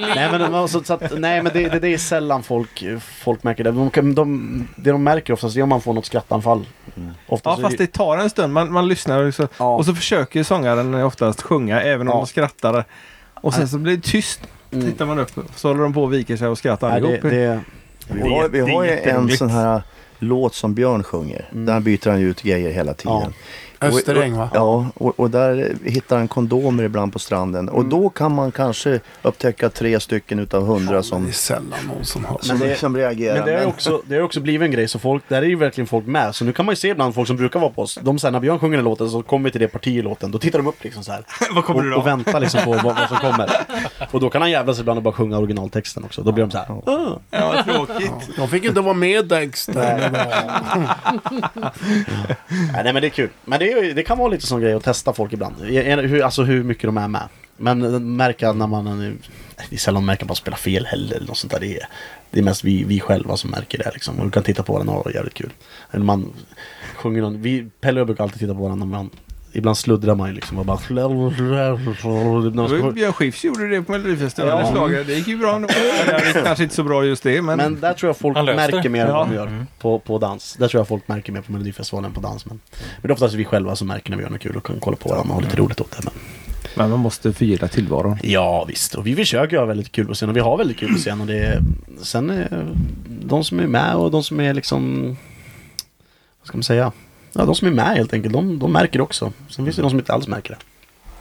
C: nej, men, men alltså, så att, nej, men det, det, det är sällan folk, folk märker det. De, kan- de, det de märker oftast är om man får något skrattanfall.
B: Ja,
C: Oftast
B: fast det tar en stund. Man, man lyssnar och så,
C: Ja.
B: och så försöker sångaren oftast sjunga även om
C: Ja.
B: de skrattar. Och sen så blir det tyst. Tittar man upp så håller de på och viker sig och skrattar
C: mm. nej, det,
B: allihop.
C: det,
F: vi har, vi har ju en sån här låt som Björn sjunger. Där byter han ju ut grejer hela tiden.
E: Österäng va?
F: Och, ja, och, och där hittar han kondomer ibland på stranden. Och då kan man kanske upptäcka tre stycken utav hundra som,
E: Det är sällan någon som har
F: som,
E: så.
C: det-
F: som reagerar.
C: Men det har ju också, det har ju också blivit en grej, så folk, där är ju verkligen folk med. Så nu kan man ju se ibland folk som brukar vara på oss. De säger när Björn sjunger den låten så kommer vi till det parti i låten. Då tittar de upp liksom så här.
B: [laughs] Vad kommer
C: och,
B: du då?
C: och väntar liksom på vad, vad som kommer. Och då kan han jävlas ibland och bara sjunga originaltexten också. Då blir de så här.
B: Ja, vad tråkigt.
E: Jag fick inte vara med Dexter.
C: Nej, nej men det är kul. Men det, är, ju- det kan vara lite sån grej att testa folk ibland. I- en- Hur, alltså hur mycket de är med. Men eh, märka när man... är- Det är sällan man märker att man spelar fel heller eller något sånt där. Det är, det är mest vi, vi själva som märker det liksom. Och du kan titta på varandra och ha jävligt kul. Eller man sjunger någon... Vi, Pelle och jag brukar alltid titta på varandra men ibland sluddrar man ju liksom och bara... När man ska sjunga.
B: Björn Skifs gjorde det på Melodifestivalen.
C: Ja.
B: Slager. Det gick ju
C: [laughs]
B: bra ändå. Eller, det kanske inte så bra just det, men...
C: Men där tror jag folk
D: Han löste
C: märker
D: det. Mm.
C: mer än vad
B: Ja.
C: de gör på, på dans. Där tror jag folk märker mer på Melodifestivalen än på dans. Men, men det är oftast vi själva som märker när vi gör något kul och kan kolla på varandra och ha lite
D: Mm.
C: roligt åt det. Men,
B: men man måste förgylla tillvaron.
C: ja visst, och vi försöker ha väldigt kul på scen och vi har väldigt kul på scen. Och det är, sen är de som är med och de som är liksom, vad ska man säga? Ja, de som är med helt enkelt, de, de märker det också. Sen finns det de som inte alls märker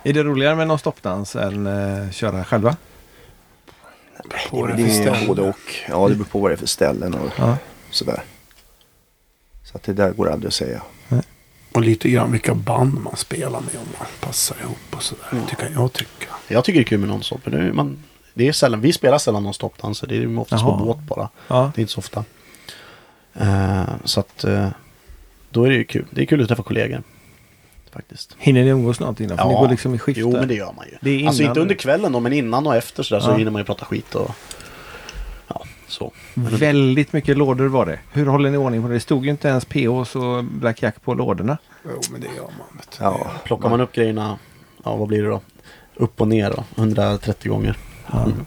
C: det.
B: Är det roligare med någon stoppdans än eh, köra själva?
E: På det för
F: Det är både
E: ställe.
F: och. Ja, det beror på vad det är för ställen och
B: Ja.
F: sådär. Så att det där går aldrig att säga.
E: Och lite grann vilka band man spelar med om man passar ihop och sådär.
F: Mm.
E: Det kan jag tycka.
C: Jag tycker det är kul med non-stop. men det är- man- Det är sällan, vi spelar sällan non-stop danser. Det är ju oftast
B: Jaha.
C: på båt bara.
B: Ja.
C: Det är inte så ofta. Eh, så att eh, då är det ju kul. Det är kul att träffa kollegor. Faktiskt.
B: Hinner ni umgås någonting då? För ni går liksom i skift
C: Jo,
B: där.
C: men det gör man ju.
B: Det är
C: Alltså
B: innan-
C: inte under kvällen då, men innan och efter sådär så
B: Ja.
C: hinner man ju prata skit och... Ja, så.
B: Väldigt mycket lådor var det. Hur håller ni ordning på det? Det stod ju inte ens PH och Black Jack på lådorna.
E: Jo, men det gör man. Vet du.
F: Ja,
C: Plockar man upp grejerna, ja vad blir det då? Upp och ner då, 130 gånger.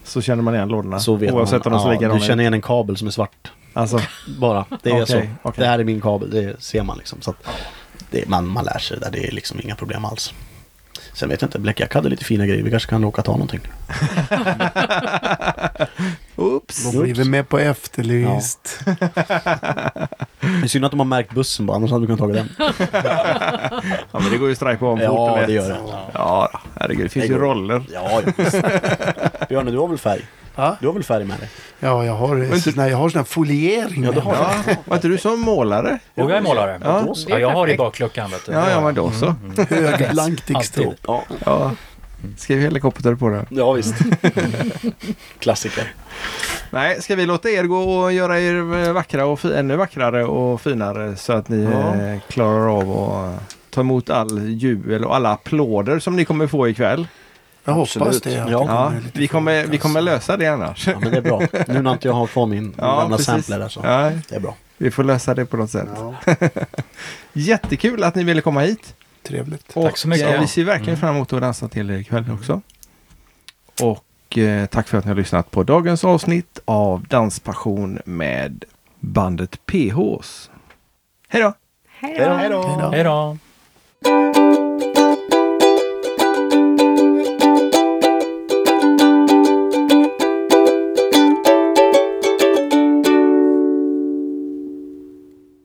B: Så känner man igen lådorna.
C: Så vet
B: Oavsett
C: man.
B: om de ser
C: ja,
B: likadana
C: du känner
B: ut.
C: igen en kabel som är svart.
B: Alltså,
C: Bara, det är
B: Okej,
C: så.
B: okej.
C: Det här är min kabel, det ser man liksom. Så att det, man, man lär sig det där, det är liksom inga problem alls. Sen vet jag inte, Black Jack hade lite fina grejer, vi kanske kan åka och ta någonting.
B: [laughs] oops!
E: Då blir vi med på efterlyst.
C: Det är synd att de har märkt bussen bara, annars hade vi kunnat ta den.
B: Ja, men det går ju att strajpa om fort
C: [laughs] Ja,
B: och lätt.
C: det gör det.
B: Ja, då. herregud. Det finns
C: Det
B: ju
C: går.
B: roller.
C: Ja, ja, visst. [laughs] Björne, du har väl färg?
E: Ja.
C: Du har väl färg med dig?
E: Ja, jag har,
B: inte-
E: sån här, jag har sån här foliering.
C: Ja, det
E: med
C: har
E: mig.
C: jag.
B: Ja, var inte du som målare?
D: Och jag är målare.
B: Ja.
D: Ja, jag har i bakluckan vet du.
B: Ja, ja, men då så.
C: Mm.
E: Högblank textil.
D: Alltid.
C: Ja,
B: Ja. Skrev helikopter på det.
C: ja visst. [laughs] Klassiker.
B: Nej, ska vi låta er gå och göra er vackra och fi- ännu vackrare och finare så att ni
F: Ja.
B: eh, klarar av att ta emot all jubel och alla applåder som ni kommer få ikväll.
E: Jag hoppas
F: Absolut.
E: det.
C: Ja.
E: att det
B: Ja,
E: kommer lite
B: vi, kommer,
E: folk,
B: vi kommer
E: alltså.
B: lösa det annars.
C: Ja, men det är bra. Nu när inte jag har kvar min
B: Ja,
C: gamla
B: precis.
C: sampler där så.
B: Ja,
C: Det är bra.
B: vi får lösa det på något sätt.
E: Ja,
B: [laughs] Jättekul att ni ville komma hit.
E: trevligt.
B: Och,
D: så mycket.
B: eh, Vi ser verkligen fram emot att dansa till er ikväll också. Och eh, tack för att ni har lyssnat på dagens avsnitt av Danspassion med bandet PHs. Hej då!
A: Hej då!
D: Hej då.